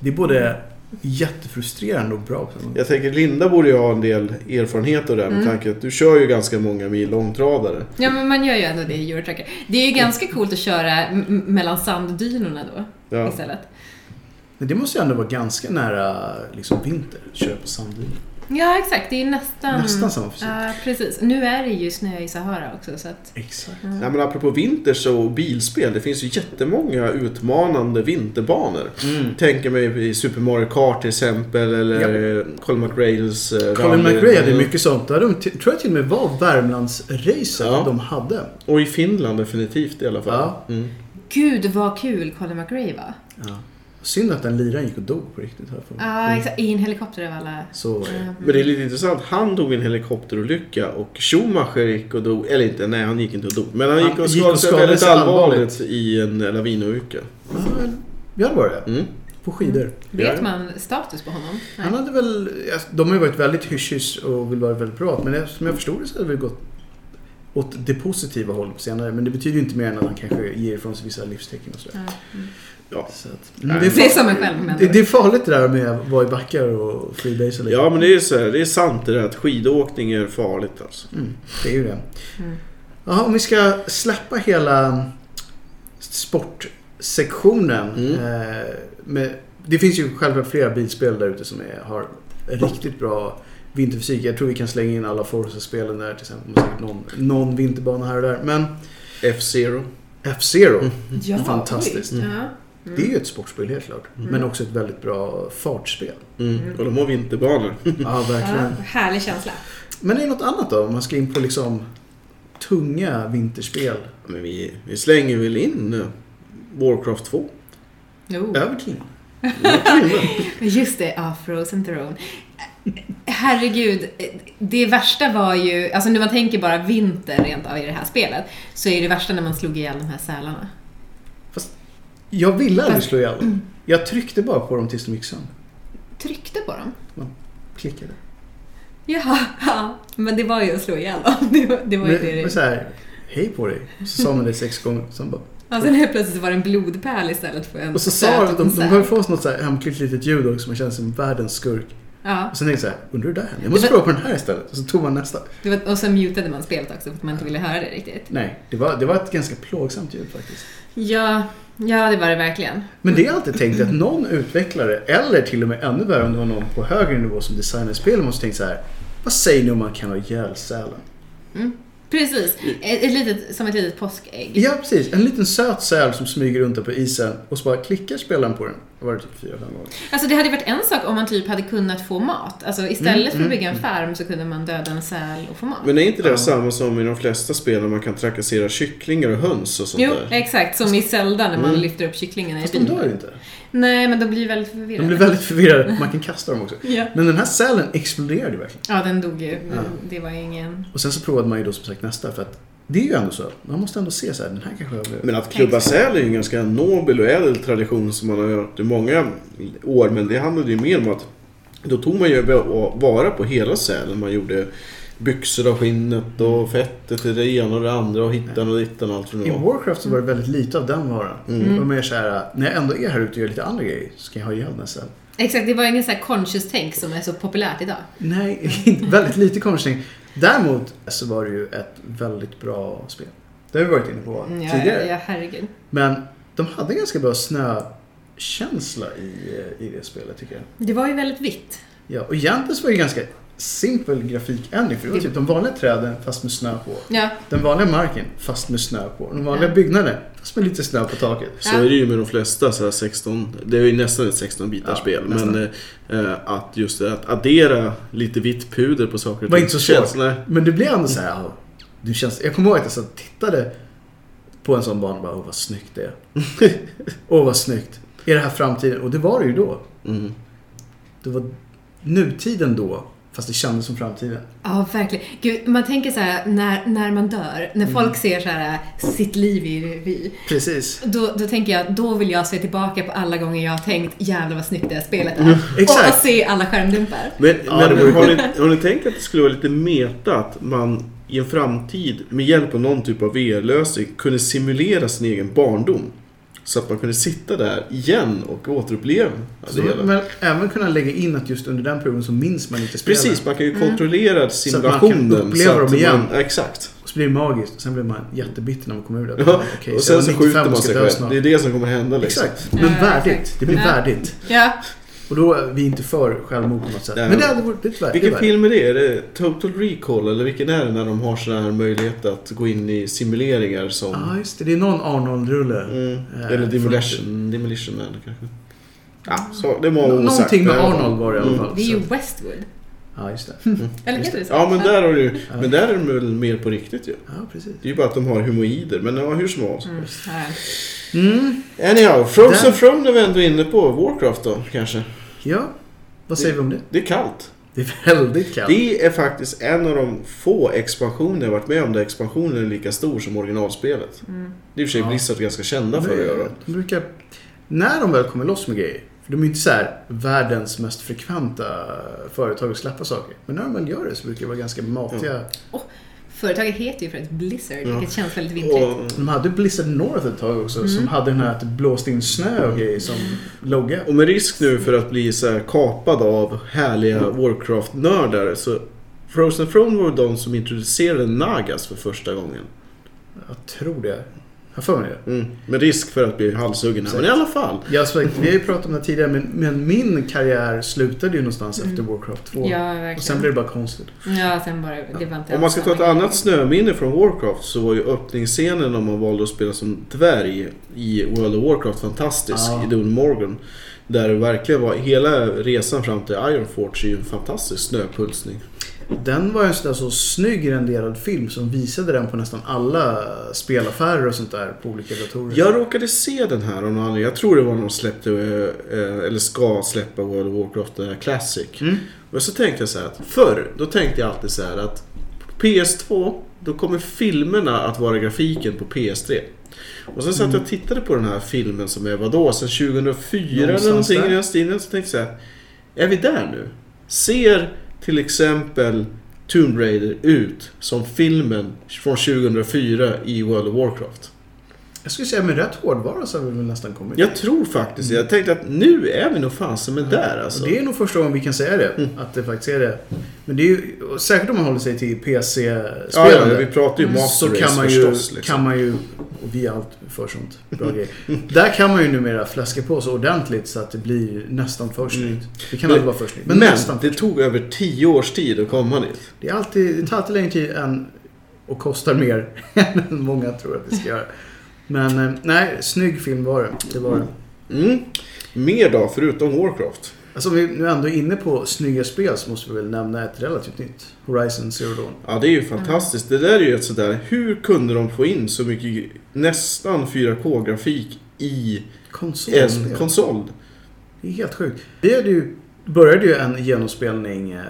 Det är både Jättefrustrerande och bra på samma gång.
Jag tänker Linda borde ju ha en del erfarenhet av det här med tanke att du kör ju ganska många mil långtradare.
Ja, men man gör ju ändå det i Eurotracker. Det är ju ganska coolt att köra m- m- mellan sanddynerna då
Ja.
istället.
Men det måste ju ändå vara ganska nära liksom, vinter. Köra på sanddyner.
Ja, exakt. Det är nästan...
Nästan samma fysik.
Mm. Ja, precis. Nu är det ju snö i Sahara också, så att...
Exakt.
Nej, men apropå vinters och bilspel, det finns ju jättemånga utmanande vinterbanor.
Mm.
Tänker mig i Super Mario Kart till exempel eller eh, Colin McRails eh,
Colin
rally.
McRae hade ju mycket sånt. Där de t- tror jag till och med var Värmlandsracet
Ja.
de hade.
Och i Finland definitivt i alla fall.
Ja.
Mm.
Gud vad kul Colin McRae var.
Synd att den liraren gick och dog på riktigt. Här för mig.
Ja, exakt. I en helikopter av alla...
Så eh, var Mm. det.
Men det är lite intressant. Han dog i en helikopterolycka och Schumacher gick och dog. Eller inte, nej han gick inte och dog. Men han,
Han
gick och
gick
skadade
och
sig
skadade
väldigt
sig allvarligt.
allvarligt i en lavinolycka.
Ja, Ja, det var det.
Mm.
På skidor.
Ja.
Vet man status på honom? Nej.
Han hade väl, alltså, de har ju varit väldigt hysch och vill vara väldigt bra. Men som jag förstod det så hade det väl gått åt det positiva hållet på senare. Men det betyder ju inte mer än att han kanske ger ifrån sig vissa livstecken och sådär.
Ja. Mm.
Så att,
Nej.
det, är
Det är
farligt,
som en själv, men...
det, det är farligt det där med att vara i backar och freebase
Ja men det är så här, det är sant det där att skidåkning är farligt alltså.
Mm, det är ju det.
Mm.
Jaha, om vi ska släppa hela sportsektionen.
Mm.
Eh, med, det finns ju självklart flera bilspel där ute som är, har riktigt bra vinterfysik. Jag tror vi kan slänga in alla Forza-spelen där till exempel. Och säkert Någon, någon vinterbana här och där. Men
F-Zero. Mm.
F-Zero,
Ja,
Fantastiskt. Mm.
oj. Ja. Mm.
det är ju ett sportspel helt klart. Men också ett väldigt bra fartspel.
Mm. Och de har vinterbanor.
Ja, verkligen.
Ja, härlig känsla.
Men är det något annat då? Om man ska in på liksom tunga vinterspel.
Men vi, vi slänger väl in eh, Warcraft 2.
Jo.
Över till
Just det, ja, Frozen Throne. Herregud, det värsta var ju, alltså när man tänker bara vinter rent av i det här spelet, så är det värsta när man slog ihjäl de här sälarna.
Jag ville aldrig slå ihjäl dem. Jag tryckte bara på dem tills de gick sönder.
Tryckte på dem.
Klickade.
Jaha, ja. men det var ju att slå ihjäl dem. Det var, det var ju det
Men, men så
det.
här, hej på dig. Så sa man det sex gånger. Sen bara,
Alltså helt plötsligt var det en blodpärl istället för en
och så sa
söt
de, de, de
säl.
började få oss något så här hemklick litet ljud också. Man kände sig som världens skurk.
Ja,
Och sen tänkte jag så här, undrar hur det där hände? Jag måste
Det var-
prova på den här istället. Och så tog man nästa.
det var, och så mutade man spelet också för att man inte ville höra det riktigt.
Nej, det var, det var ett ganska plågsamt ljud faktiskt.
Ja, ja det var det verkligen.
Men det har jag alltid tänkt att någon utvecklare, eller till och med ännu värre om det var någon på högre nivå som designade spelet, måste tänkt så här. Vad säger ni om man kan ha ihjäl sälen?
Precis, ett, ett litet, som ett litet påskägg.
Ja, precis. En liten söt säl som smyger runt där på isen och så bara klickar spelaren på den. Det var det typ fyra, fem gånger.
Alltså det hade varit en sak om man typ hade kunnat få mat. Alltså istället
Mm,
för att bygga en farm så kunde man döda en säl och få mat.
Men är inte det
Ja.
samma som i de flesta spel när man kan trakassera kycklingar och höns och sånt
Jo,
där?
exakt. Som i Zelda när man
Mm.
lyfter upp kycklingarna i
Fast de
bilen.
dör ju inte.
Nej, men de blir väldigt
De
förvirrade.
blir väldigt förvirrade. Man kan kasta dem också.
Ja.
Men den här sälen exploderade ju verkligen.
ja, den dog ju.
Ja.
Det var ju ingen...
Och sen så provade man ju då som sagt nästa för att det är ju ändå så. Man måste ändå se så här, den här kanske jag behöver.
Men att klubba säl är ju en ganska nobel och ädel tradition som man har gjort i många år. Men det handlade ju mer om att då tog man ju vara på hela sälen. Man gjorde byxor av skinnet och fettet till det ena och det andra och hittan och dittan och allt vad det
Mm. I Mm.
var. Mm.
Warcraft så var det väldigt lite av den varan. Det var mer så här, när jag ändå är här ute och gör lite andra grejer så ska jag ha ihjäl den här sälen.
Exakt, det var ingen så här conscious tänk som är så populärt idag.
Nej, inte- väldigt lite konstning. Däremot så var det ju ett väldigt bra spel. Det har vi varit inne på
Mm, Ja,
tidigare.
ja, herregud.
Men de hade ganska bra snökänsla i, eh, i det spelet tycker jag.
Det var ju väldigt vitt.
Ja, och egentligen så var det ganska simpel grafikändring. För det var typ de vanliga träden fast med snö på.
Ja,
Den vanliga marken fast med snö på. De vanliga byggnaderna fast med lite snö på taket.
Så är det ju med de flesta så här 16, det är ju nästan ett 16 bitars
Ja,
spel.
nästan.
Men eh, att just det, att addera lite vitt puder på saker och
Var inte så svårt.
känns- nej.
Men det blev ändå så här, ja, det känns, jag kommer ihåg att jag så här tittade på en sån bana och bara, åh vad snyggt det är. åh vad snyggt. Är det här framtiden? Och det var det ju då.
Mm.
Det var nutiden då, fast det kändes som framtiden.
Ja, verkligen. Gud, man tänker så här när, när man dör, när
Mm.
folk ser så här sitt liv i revy.
Precis.
Då, då tänker jag, då vill jag se tillbaka på alla gånger jag har tänkt jävlar vad snyggt det här spelet är.
Exakt.
Och, och se alla skärmdumpar.
Men,
Ja, det vore
men har, ni, har ni tänkt att det skulle vara lite meta att man i en framtid med hjälp av någon typ av VR-lösning kunde simulera sin egen barndom? Så att man kunde sitta där igen och återuppleva
Så
det
då
hela.
hade man även kunna lägga in att just under den perioden så minns man inte spelen.
Precis, man kan ju kontrollera
Mm. Så att man kan
simulationen.
uppleva dem igen.
Man, exakt.
Och så blir det magiskt. Sen blir man jättebitter när man kommer ur det.
Ja,
Okej,
och
så jag
sen
var
så
95
skjuter man
och ska
sig
dö
själv.
snart.
Det är det som kommer hända liksom.
Exakt. Men
Ja,
värdigt.
exakt.
Det blir
Ja.
värdigt.
Ja.
Och då är vi inte för självmord på något sätt.
Nej.
Men det hade varit lite värdigt.
Vilken film är det? Är det Total Recall eller vilken är det när de har sån här möjlighet att gå in i simuleringar som...
Ja, ah, just det. Det är någon Arnold-rulle.
Mm.
Eh,
Eller Demolition, Demolition Man kanske. Ja, så det var osagt.
Någonting med
Men-
Arnold var det i alla
Mm.
fall.
Det är ju
Så-
Westwood.
Ja, just det.
Eller
Just
heter det så?
Ja, men där har du Men där är de väl mer på riktigt ju.
Ja, precis.
Det är ju bara att de har humoider, men ja, hur som helst.
Mm, ja.
Mm.
Anyhow, Frozen
Där-
Throne är vi ändå inne på. Warcraft då, kanske.
Ja, vad säger vi om det?
Det är kallt.
Det är väldigt kallt.
Det är faktiskt en av de få expansioner jag varit med om där expansionen är lika stor som originalspelet.
Mm.
Det är i och för sig
Ja.
Blizzard ganska kända för att göra.
De brukar, när de väl kommer loss med grejer, för de är ju inte så här världens mest frekventa företag att släppa saker. Men när de väl gör det så brukar det vara ganska matiga.
Mm.
Företaget heter ju för ett Blizzard,
Ja.
vilket känns väldigt vintrigt.
Och,
De hade Blizzard North ett tag också
Mm.
som hade den här att det blåste in snö och grejer som logga.
och med risk nu för att bli så här kapad av härliga Warcraft-nördar så Frozen Throne var de som introducerade Nagas för första gången.
Jag tror det. Jag har för mig det.
Mm. Med risk för att bli halshuggen här, men i alla fall.
Jag har sagt, vi har ju pratat om det här tidigare, men, men min karriär slutade ju någonstans
Mm.
efter Warcraft 2. och
Ja,
sen
verkligen.
blev det bara konstigt.
Ja, sen bara, det var inte
Om man ska ta ett
alls samma
annat snöminne från Warcraft så var ju öppningsscenen om man valde att spela som dvärg i World of Warcraft fantastisk
Ja.
i Dun Morgan. Där det verkligen var, hela resan fram till Ironforge är ju en fantastisk snöpulsning.
Den var ju en sån där så snygg renderad film som visade den på nästan alla spelaffärer och sånt där på olika datorer.
Jag råkade se den här av någon anledning. Jag tror det var när de släppte, eh, eller ska släppa World of Warcraft eh, Classic.
Mm.
Och så tänkte jag så här att förr, då tänkte jag alltid så här att på PS2, då kommer filmerna att vara grafiken på PS3. Och sen satt
Mm.
jag och tittade på den här filmen som är vadå, sen 2004 eller
Någonstans
någonting
där.
i den stilen. Så tänkte jag så här, är vi där nu? Ser till exempel Tomb Raider ut som filmen från 2004 i World of Warcraft?
Jag skulle säga med rätt hårdvara så har vi väl nästan kommit.
Jag tror faktiskt det. Jag tänkte att nu är vi nog fasen med där alltså. Mm.
Och Det är nog första gången vi kan säga det, att det faktiskt är det. Men det är ju, och särskilt om man håller sig till
ja, ja,
PC-spelande.
vi pratar ju Master
Mm. så
Race
kan man ju,
förstås. Liksom.
kan man ju, och vi är allt för sånt, bra grejer. Där kan man ju numera fläska på så ordentligt så att det blir nästan för snyggt. Det kan
Mm. Men-
aldrig vara för snyggt, men,
Men,
nästan.
det tog över tio års tid att komma dit.
Det, är alltid, det tar alltid längre tid än och kostar mer än många tror att det ska göra. Men eh, nej, snygg film var det. det, var det.
Mm. Mer då, förutom Warcraft.
Alltså om vi nu ändå är inne på snygga spel så måste vi väl nämna ett relativt nytt. Horizon Zero Dawn.
Ja, det är ju fantastiskt. Det där är ju ett sådär, hur kunde de få in så mycket, nästan 4K-grafik i en
Konsolspel.
konsol?
Det är helt sjukt. Vi hade ju, började ju en genomspelning eh,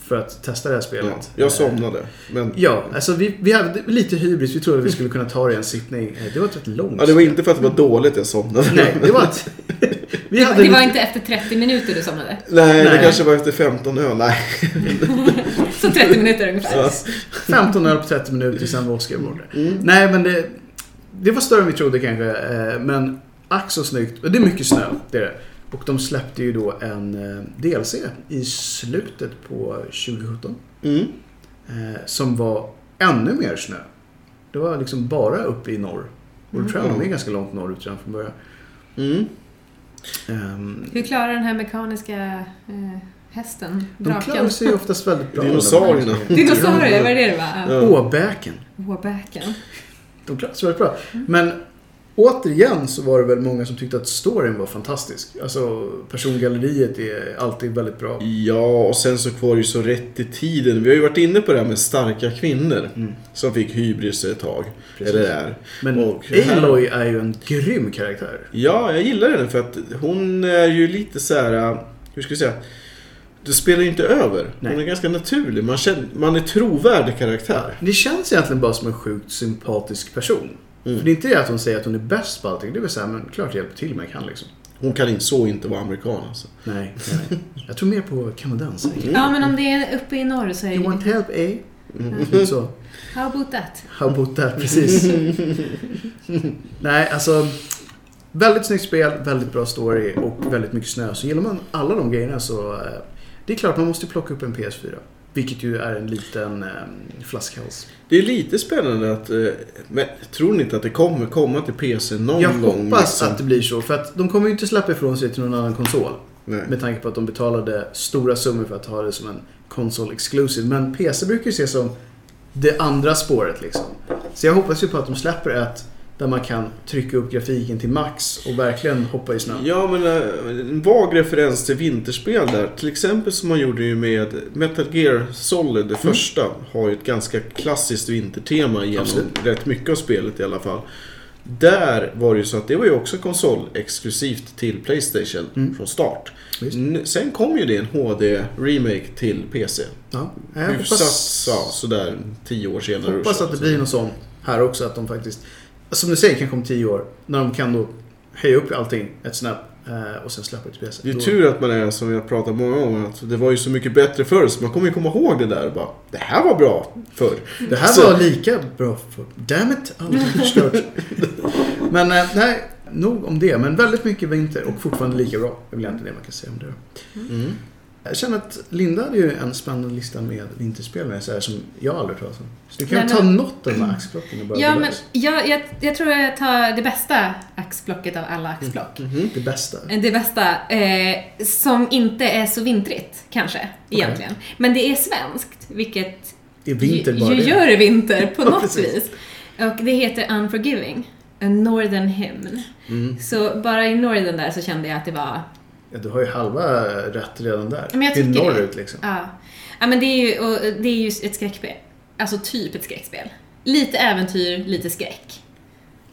för att testa det här
Ja,
spelet.
jag somnade. Men,
Ja, alltså vi, vi hade lite hybris. Vi trodde att vi skulle kunna ta det i en sittning. Eh, Det var ett rätt långt
ja, det var inte för att det var dåligt jag somnade.
Nej, det var ett... vi
Det
hade
var- det var
lite-
inte efter 30 minuter du somnade.
Nej, det
Nej.
kanske var efter 15 öl. Nej.
Så 30 minuter ungefär.
Ja.
15 öl på 30 minuter, sen var Oscar borta.
Mm.
Nej, men det, det var större än vi trodde kanske. eh, Men ack så snyggt. Och Det är mycket snö, det är det. Och de släppte ju då en eh, DLC i slutet på 2017.
Mm.
eh, Som var ännu mer snö. Det var liksom bara uppe i norr. Och då tror jag
Mm.
de är ganska långt norrut redan från början.
Mm.
Ehm,
Hur klarar den här mekaniska eh, hästen?
De klarar
draken?
sig ju oftast väldigt bra.
Dinosaurierna.
Dinosaurier, var det det det var? Ja.
Ja.
Åbäken.
Åbäken.
De klarade sig väldigt bra. Men återigen så var det väl många som tyckte att storyn var fantastisk. Alltså persongalleriet är alltid väldigt bra.
Ja, och sen så var det ju så rätt i tiden. Vi har ju varit inne på det här med starka kvinnor
Mm.
som fick hybris ett tag.
Precis.
Eller är.
Men
Och här-
Aloy är ju en grym karaktär.
Ja, jag gillar henne för att hon är ju lite så här. äh, hur ska jag säga? Du spelar ju inte över.
Nej.
Hon är ganska naturlig. Man, känner, man är trovärdig karaktär.
Det känns egentligen bara som en sjukt sympatisk person.
Mm.
För det är inte det att hon säger att hon är bäst på allting. Det är väl såhär, men klart jag hjälper till med jag kan liksom.
Hon kan inte, så inte vara amerikan alltså.
Nej, nej. Jag tror mer på kanadensare.
Mm.
Ja, men om det är uppe i norr så är
You
det...
want help, eh? Mm. Så.
How about that?
How about that? Precis. Nej, alltså. Väldigt snyggt spel, väldigt bra story och väldigt mycket snö. Så gillar man alla de grejerna så eh, det är klart man måste plocka upp en PS4. Vilket ju är en liten eh, flaskhals.
Det är lite spännande att... eh, Men tror ni inte att det kommer komma till PC någon
Jag
gång?
hoppas
liksom?
att det blir så för att de kommer ju inte släppa ifrån sig till någon annan konsol.
Nej.
Med tanke på att de betalade stora summor för att ha det som en konsol exclusive. Men PC brukar ju ses som det andra spåret liksom. Så jag hoppas ju på att de släpper ett där man kan trycka upp grafiken till max och verkligen hoppa i snön.
Ja, men eh, en vag referens till vinterspel där. Till exempel som man gjorde ju med Metal Gear Solid, det
Mm.
första, har ju ett ganska klassiskt vintertema genom
Absolut.
rätt mycket av spelet i alla fall. Där var det ju så att det var ju också konsolexklusivt till Playstation
Mm.
från start.
Visst.
N- Sen kom ju det en HD-remake till PC.
Ja, jag
Hyfsat
hoppas,
ja, sådär tio år senare.
hoppas att det blir något sånt här också. Att de faktiskt, som du säger, kanske om tio år. När de kan då höja upp allting ett snäpp eh, och sen släppa det till PC.
Det är
Då-
tur att man är som vi har pratat många gånger att det var ju så mycket bättre förr så man kommer ju komma ihåg det där och bara Det här var bra förr.
Det här
Så-
var lika bra för... Damn it, allt är förstört. men eh, nej, nog om det. Men väldigt mycket vinter och fortfarande lika bra. Det är väl egentligen det man kan säga om det.
Mm.
Jag känner att Linda hade ju en spännande lista med vinterspel med så här som jag aldrig hört talas om. Så du kan
Nej,
väl ta
men-
något av de här axplocken och bara
Ja,
gå
men
lös.
jag, jag, jag tror jag tar det bästa axplocket av
Mm.
alla axplock.
Det bästa.
Det bästa, eh, som inte är så vintrigt kanske, egentligen. Men det är svenskt, vilket
Det är vinter
ju,
bara
ju
det.
gör det vinter på
Ja,
något
precis.
vis. Och det heter Unforgiving, A Northern Hymn.
Mm.
Så bara i Northern där så kände jag att det var
Ja, du har ju halva rätt redan där.
Men jag
det är
tycker det.
norrut liksom.
Ja. ja men det är, ju, och det är ju ett skräckspel. Alltså typ ett skräckspel. Lite äventyr, lite skräck.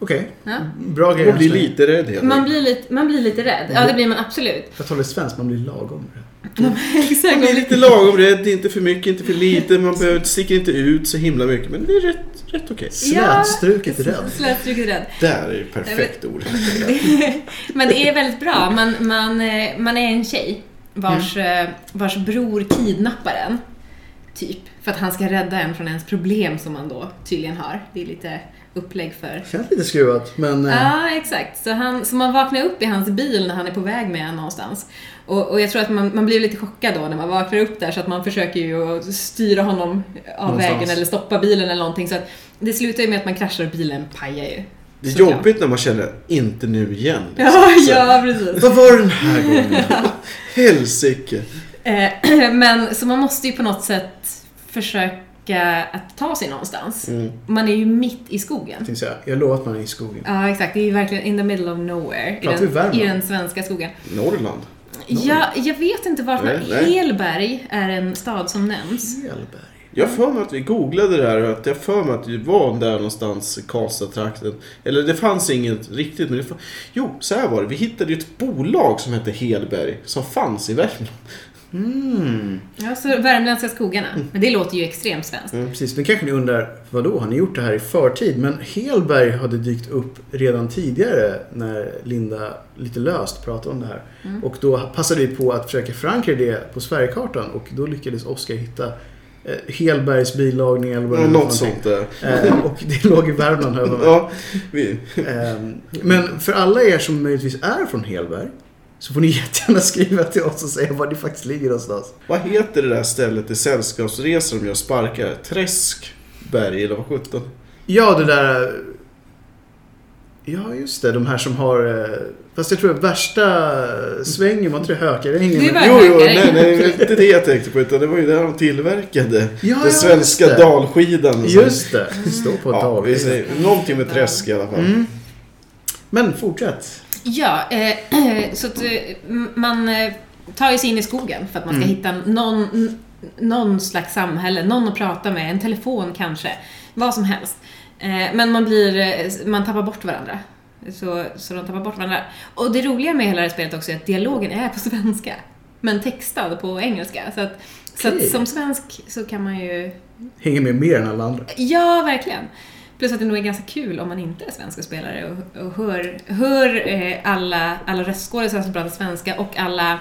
Okej,
Ja.
bra grej.
Man blir
än så länge.
lite rädd helt
Man,
enkelt.
blir lite, man blir lite rädd. Ja, det blir man absolut.
Jag talar svenskt, man blir lagom rädd.
Exakt.
Man blir lite lagom rädd, inte för mycket, inte för lite, man behöver, sticker inte ut så himla mycket. Men det är rätt, rätt okej.
Ja.
Slätstruket rädd.
Slätstruket rädd.
Där är ju perfekt ord.
Men det är väldigt bra. Man, man, eh, man är en tjej vars,
Mm.
eh, vars bror kidnappar en. Typ. För att han ska rädda en från ens problem som man då tydligen har. Det är lite upplägg för
Känns lite skruvat, men... eh,
Ja, exakt. Så, han, så man vaknar upp i hans bil när han är på väg med en någonstans. Och, och jag tror att man, man blir lite chockad då när man vaknar upp där så att man försöker ju att styra honom av
Någonstans.
vägen eller stoppa bilen eller någonting. Så att det slutar ju med att man kraschar och bilen pajar ju.
Det är
Såklart.
jobbigt när man känner, inte nu igen.
Ja,
Så-
ja precis.
Vad var den här gången? Helsike.
Eh, Men så man måste ju på något sätt försöka att ta sig någonstans.
Mm.
Man är ju mitt i skogen.
tänkte säga, jag lovar att man är i skogen.
Ja, exakt. Det är ju verkligen in the middle of nowhere. I
Pratar vi
den,
Värmland?
I den svenska skogen.
Norrland.
Ja, jag vet inte vart
Nej,
man...
nej.
Helberg är en stad som nämns.
Fjällberg.
Jag har för mig att vi googlade det här och att jag har för mig att vi var där någonstans i Karlstad-trakten. Eller det fanns inget riktigt men det fanns... Jo, så här var det. Vi hittade ju ett bolag som hette Hedberg som fanns i Värmland.
Mm.
Ja, så Värmländska skogarna. Men det låter ju extremt svenskt.
Precis, nu kanske ni undrar, vadå, har ni gjort det här i förtid? Men Helberg hade dykt upp redan tidigare när Linda lite löst pratade om det här. Och då passade vi på att försöka förankra det på Sverigekartan och då lyckades Oskar hitta eh, Helbergs bilagning eller vad det
Mm.
nu var
Något
för
sånt där.
någonting. Eh, Och det låg i Värmland här jag
Ja, vi...
Ehm, Men för alla er som möjligtvis är från Helberg så får ni jättegärna skriva till oss och säga var ni faktiskt ligger någonstans.
Vad heter det där stället i Sällskapsresor om jag sparkar? Träskberg eller vad sjutton?
Ja, det där... eh, Ja, just det. De här som har... eh, Fast jag tror att värsta svängen, man tror Hökarängen.
Det är
Jo, jo, nej,
Berghackare.
nej, det var inte det jag tänkte på utan det var ju där de tillverkade
ja,
den svenska
just det.
dalskidan.
Just det. Stå på
Ja,
dal.
vi säger, någonting med träsk i alla fall.
Mm. Men fortsätt.
Ja, eh, så att eh, m- man eh, tar ju sig in i skogen för att man ska hitta någon, n- någon slags samhälle, någon att prata med, en telefon kanske, vad som helst. Eh, men man blir, eh, man tappar bort varandra. Så, så de tappar bort varandra. Och det roliga med hela det här spelet också är att dialogen är på svenska, men textad på engelska. Så att, så att
Okej.
som svensk så kan man ju
Hänger med mer än alla andra.
Ja, verkligen. Plus att det nog är ganska kul om man inte är svenska spelare och, och hör, hör eh, alla, alla röstskådisar som pratar svenska och alla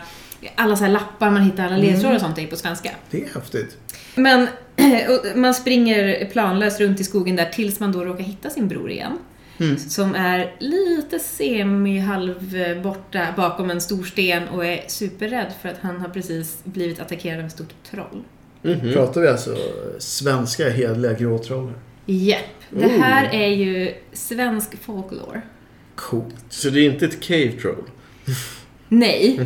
alla så här lappar man hittar, alla ledtrådar och sånt är på svenska.
Det är häftigt.
Men och man springer planlöst runt i skogen där tills man då råkar hitta sin bror igen.
Mm.
Som är lite semi-halv eh, borta bakom en stor sten och är superrädd för att han har precis blivit attackerad av ett stort troll.
Mhm.
Pratar vi alltså svenska hedliga gråtroller?
Japp. Det här
Ooh.
är ju svensk folklore.
Coolt.
Så det är inte ett cave troll?
Nej,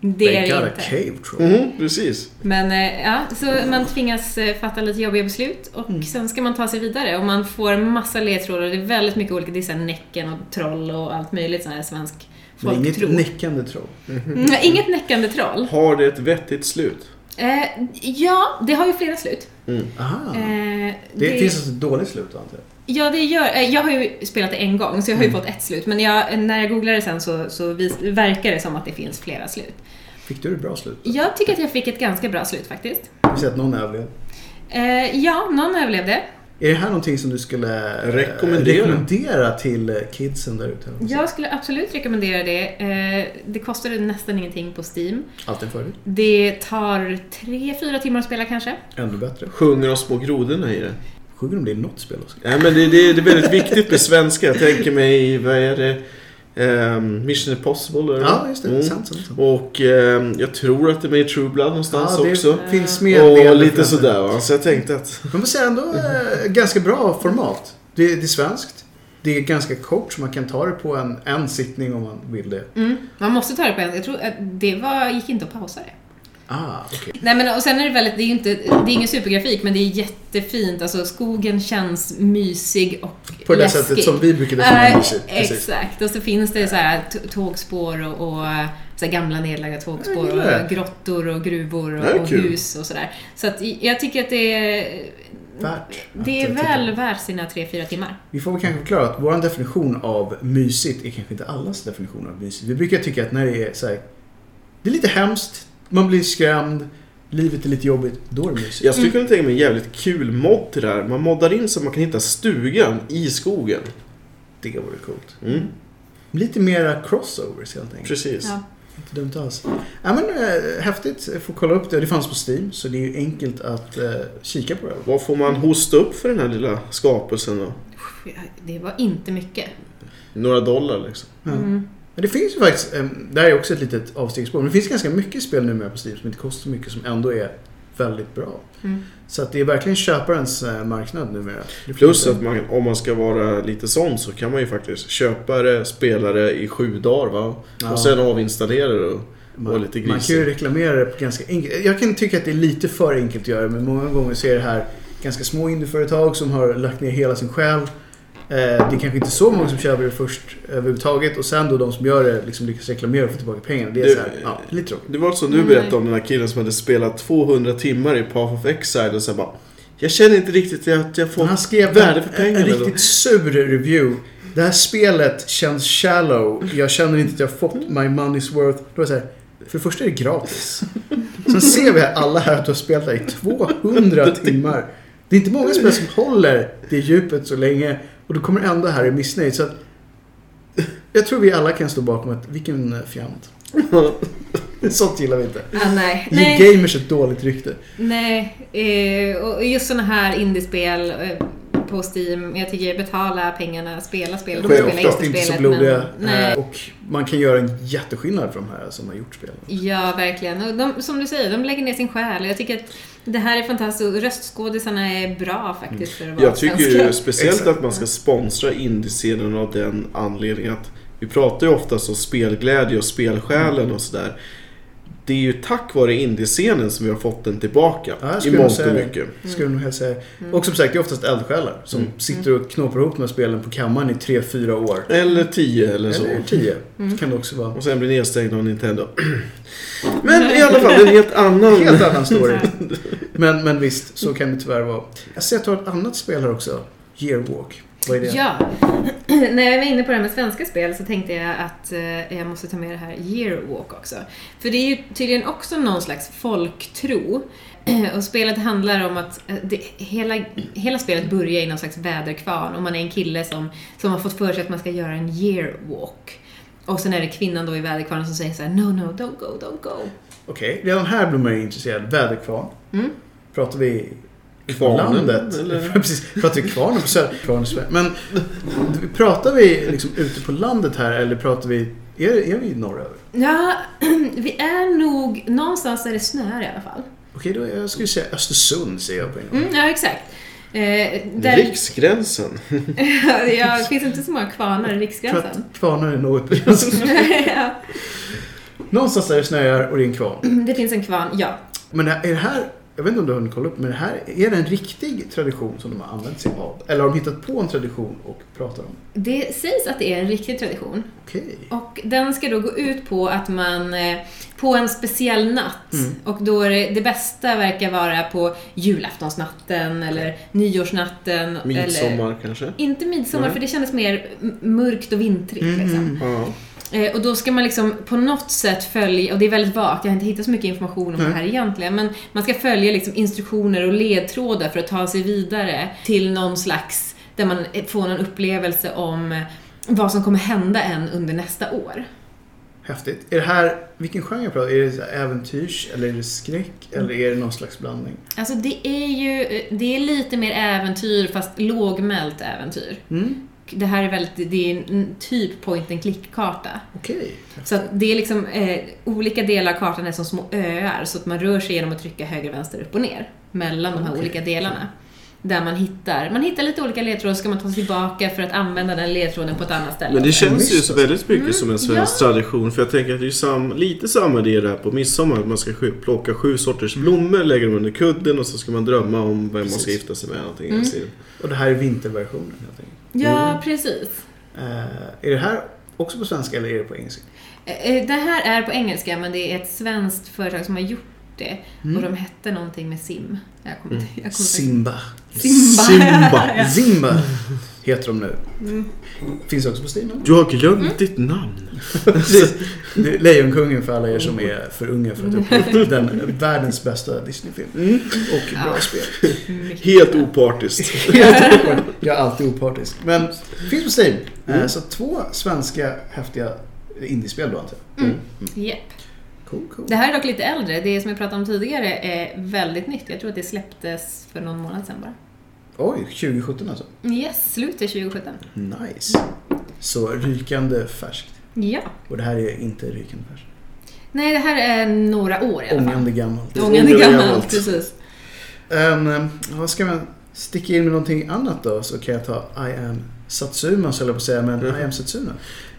det är
They got
det
a
inte.
cave troll.
Mhm, precis.
Men eh, ja, så man tvingas eh, fatta lite jobbiga beslut och sen ska man ta sig vidare och man får massa ledtrådar. Det är väldigt mycket olika, det är så här Näcken och troll och allt möjligt sån här svensk
Det är
folktro.
inget nickande troll.
Mm, Inget näckande troll.
Har det ett vettigt slut?
Eh, ja, det har ju flera slut.
Aha.
Eh, det,
det, finns alltså ett dåligt slut antar jag.
Ja, det gör... eh, Jag har ju spelat det en gång, så jag har ju
Mm.
fått ett slut. Men jag, när jag googlade sen så, så vis, verkar det som att det finns flera slut.
Fick du ett bra slut?
Jag tycker att jag fick ett ganska bra slut faktiskt.
Vi säger att någon överlevde.
Eh, ja, någon överlevde.
Är det här någonting som du skulle eh,
Rekommendera.
rekommendera till eh, kidsen där ute?
Jag skulle absolut rekommendera det. Eh, det kostade nästan ingenting på Steam.
Allt en fördel.
Det tar tre, fyra timmar att spela kanske.
Ännu bättre.
Sjunger de små grodorna i det?
Sjunger om det i något spel också?
Nej, men det, det, det är väldigt viktigt med svenska. Jag tänker mig, vad är det? Ehm, Mission Impossible? eller
Ja,
vad?
just det.
Mm.
Sant, sant, sant.
Och ehm, jag tror att det är med i True Blood någonstans
Ja, det
också.
finns med en del
Och lite
referenser.
sådär va. Så jag tänkte att...
Man får säga ändå eh, ganska bra format. Det, det är svenskt. Det är ganska kort så man kan ta det på en, en sittning om man vill det.
Mm. Man måste ta det på en. Jag tror att det var, gick inte att pausa det.
Ah, okej.
Nej men och sen är det väldigt, det är ju inte, det är ingen supergrafik men det är jättefint. Alltså skogen känns mysig och
På det
läskig.
sättet som vi brukar
Eh,
definiera musik. Precis.
Exakt, och så finns det så här t- tågspår och, och eh, så här gamla nedlagda
Jag
tågspår
gillar det.
och grottor och gruvor
Det här
och,
är
och
kul.
hus och sådär. Så att jag tycker att det är,
Värt att
det är
titta på.
väl värt sina 3-4 timmar.
Vi får väl kanske förklara att vår definition av mysigt är kanske inte allas definition av mysigt. Vi brukar tycka att när det är så här, det är lite hemskt, man blir skrämd, livet är lite jobbigt, då är det mysigt.
Jag skulle kunna tänka mig en jävligt kul mod till det här. Man moddar in så man kan hitta stugan i skogen.
Det vore coolt.
Mm,
Lite mera crossovers helt enkelt.
precis.
Ja.
Inte dumt alls. Ja, men, eh, häftigt, jag får kolla upp det. Det fanns på Steam så det är ju enkelt att eh, kika på det.
Vad får man hosta upp för den här lilla skapelsen då?
Det var inte mycket.
Några dollar liksom.
Ja.
Mm.
Men det finns ju faktiskt, eh, det här är också ett litet avstegsspår, men det finns ganska mycket spel nu med på Steam som inte kostar så mycket som ändå är väldigt bra.
Mm.
Så att det är verkligen köparens eh, marknad numera. Det
Plus
finns-
att man, om man ska vara lite sån så kan man ju faktiskt köpa det, spela det i sju dagar va?
Ja.
Och sen avinstallera det.
Man,
Och lite grisig.
man kan ju reklamera det på ganska enkelt. Jag kan tycka att det är lite för enkelt att göra men många gånger så är det här ganska små indieföretag som har lagt ner hela sin själ. Eh, det är kanske inte så många som köper det först överhuvudtaget och sen då de som gör det liksom lyckas reklamera och få tillbaka pengarna. Det är
Du-
så här, ja, lite tråkigt.
Det var som du
Mm.
berättade om den här killen som hade spelat 200 timmar i Path of Exile och sen bara Jag känner inte riktigt att jag får...
Han skrev
värde
en-
för pengarna
en
då.
riktigt sur review. Det här spelet känns shallow. Jag känner inte att jag fått
Mm.
my money's worth. Då var det så här, för det första är det gratis. Sen ser vi här, alla här att du har spelat det här i 200 timmar. Det är inte många spel som håller det djupet så länge och du kommer ändå här i missnöjd. Så att, jag tror vi alla kan stå bakom att vilken fjant. Sånt gillar vi inte.
Ah, nej.
Ge
nej,
gamers ett dåligt rykte.
nej. Eh, och just såna här indiespel eh, på Steam, jag tycker betala pengarna, spela spelet,
De
Självklart
är
spela
oftast inte så blodiga.
men- nej.
eh, Och man kan göra en jätteskillnad för de här som har gjort spelen.
Ja, verkligen. Och de, som du säger, de lägger ner sin själ. Jag tycker att det här är fantastiskt. Och Röstskådisarna är bra faktiskt för att vara
Jag tycker ju
svenska.
speciellt
Exakt.
att man ska sponsra indiescenen av den anledningen att vi pratar ju ofta om spelglädje och spelsjälen och sådär. Det är ju tack vare indiescenen som vi har fått den tillbaka
Ja, jag
i
skulle
mångt
säga
och
det.
mycket.
Mm.
Skulle jag nog helst säga. Och som sagt, det är oftast eldsjälar som
Mm.
sitter och knåpar ihop de här spelen på kammaren i 3-4 år.
Eller 10 eller så.
Eller 10.
Mm.
Kan det också vara.
Och sen blir nedstängd av Nintendo. Men i alla fall, en helt annan...
Helt annan story. men, men visst, så kan det tyvärr vara. Jag ser att du har ett annat spel här också. Yearwalk. Vad är det?
Ja. När jag var inne på det här med svenska spel så tänkte jag att eh, jag måste ta med det här Yearwalk också. För det är ju tydligen också någon slags folktro. Och spelet handlar om att eh, det, hela, hela spelet börjar i någon slags väderkvarn och man är en kille som, som har fått för sig att man ska göra en yearwalk. Och sen är det kvinnan då i väderkvarnen som säger så här: No, no, don't go, don't go.
Okej, redan här blir man ju intresserad. Väderkvarn.
Mm.
Pratar vi
Kvarnen,
landet?
eller?
Precis, pratar vi kvarnen på söder? Kvarnen i Sverige. Men pratar vi liksom ute på landet här eller pratar vi... Är, är vi norröver?
Ja, vi är nog... Någonstans där det snöar i alla fall.
Okej, då jag skulle säga Östersund säger jag på en gång.
Mm, ja, exakt. Eh, där,
Riksgränsen.
ja, det finns inte så många kvarnar i
Jag tror
Riksgränsen.
att kvarnar är något begränsat.
ja,
Någonstans där det snöar och det är en kvarn.
det finns en kvarn, ja.
Men är det här, jag vet inte om du har hunnit kolla upp, men det här, är det en riktig tradition som de har använt sig av? Eller har de hittat på en tradition och pratar om?
Det sägs att det är en riktig tradition.
Okej.
Och den ska då gå ut på att man eh, på en speciell natt
Mm.
och då är det, det bästa verkar vara på julaftonsnatten eller nyårsnatten. Eller,
Midsommar kanske.
inte midsommar
Nej. Mm,
för det kändes mer m- mörkt och vintrigt.
Mm.
Liksom.
Ja.
Eh, och då ska man liksom på något sätt följa, och det är väldigt vagt, jag har inte hittat så mycket information om
Nej.
det här egentligen, men man ska följa liksom instruktioner och ledtrådar för att ta sig vidare till någon slags, där man eh, får någon upplevelse om eh, vad som kommer hända en under nästa år.
Häftigt. Är det här, vilken genre pratar Är det så här äventyrs eller är det skräck? Eller är det någon slags blandning?
Alltså det är ju, eh, det är lite mer äventyr fast lågmält äventyr.
Mm.
Det här är väldigt, det är en typ point and click-karta.
Okej.
Så att det är liksom, eh, olika delar av kartan är som små öar så att man rör sig genom att trycka höger, vänster, upp och ner mellan de här
Okej.
olika delarna. Där man hittar, man hittar lite olika ledtrådar så ska man ta sig tillbaka för att använda den ledtråden på ett annat ställe.
Men det känns ju
mystiskt.
så väldigt mycket
Mm,
som en svensk tradition. För jag tänker att det är ju sam, lite samma idé där på midsommar. Att man ska sju, plocka sju sorters blommor, lägga dem under kudden och så ska man drömma om vem man
Precis.
ska gifta sig med. Någonting.
Mm.
Mm.
Och det här är vinterversionen helt enkelt.
Ja,
Mm.
precis.
Eh, är det här också på svenska eller är det på engelska?
Eh, eh, Det här är på engelska men det är ett svenskt företag som har gjort det
Mm.
och de hette någonting med sim. Jag kommer, inte- jag kommer faktiskt-
Simba.
Simba.
Simba. Simba heter de nu.
Mm.
Finns också på Steam eller?
Du har glömt ditt namn.
Precis. Det är Lejonkungen för alla er som är för unga för att uppleva den världens bästa Disney-film. Och bra
Mm. Ja.
spel.
Mycket
Helt
bra.
opartiskt.
Jag är alltid opartisk. Men finns på Steam.
Mm.
Eh, Så två svenska häftiga indiespel då antar jag. Mm.
Japp.
Cool, cool.
Mm. Det här är dock lite äldre. Det som jag pratade om tidigare är väldigt nytt. Jag tror att det släpptes för någon månad sedan bara.
Oj, 2017 alltså.
Yes, slutet 2017.
Nice.
Mm.
Så rykande färskt.
Ja.
Och det här är inte rykande färskt.
Nej, det här är några år i alla fall.
Ångande gammalt.
Ångande
Ångande
gammalt,
gammalt.
precis.
Ehm, eh, vad ska man sticka in med någonting annat då? Så kan jag ta I am Satsuma, så höll jag på att säga, men
Mhm.
I am Satsuma.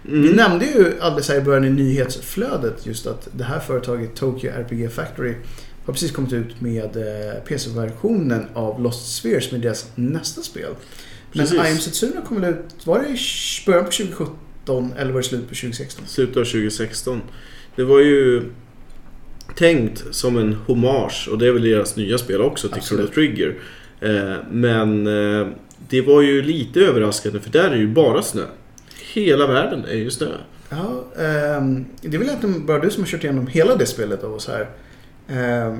Vi
Mm.
nämnde ju alldeles här i början i nyhetsflödet just att det här företaget Tokyo RPG Factory har precis kommit ut med eh, PC-versionen av Lost Spheres med deras nästa spel. Men I
Precis.
am Satsuma kom väl ut, var det i sh- början på 2017 eller var det slut på 2016?
Slutet av 2016. Det var ju tänkt som en hommage och det är väl deras nya spel också till Chrono
Absolut.
Trigger. Eh, Men eh, det var ju lite överraskande för där är ju bara snö. Hela världen är ju snö.
Ja, ehm, det är väl egentligen bara du som har kört igenom hela det spelet av oss här. Ehm,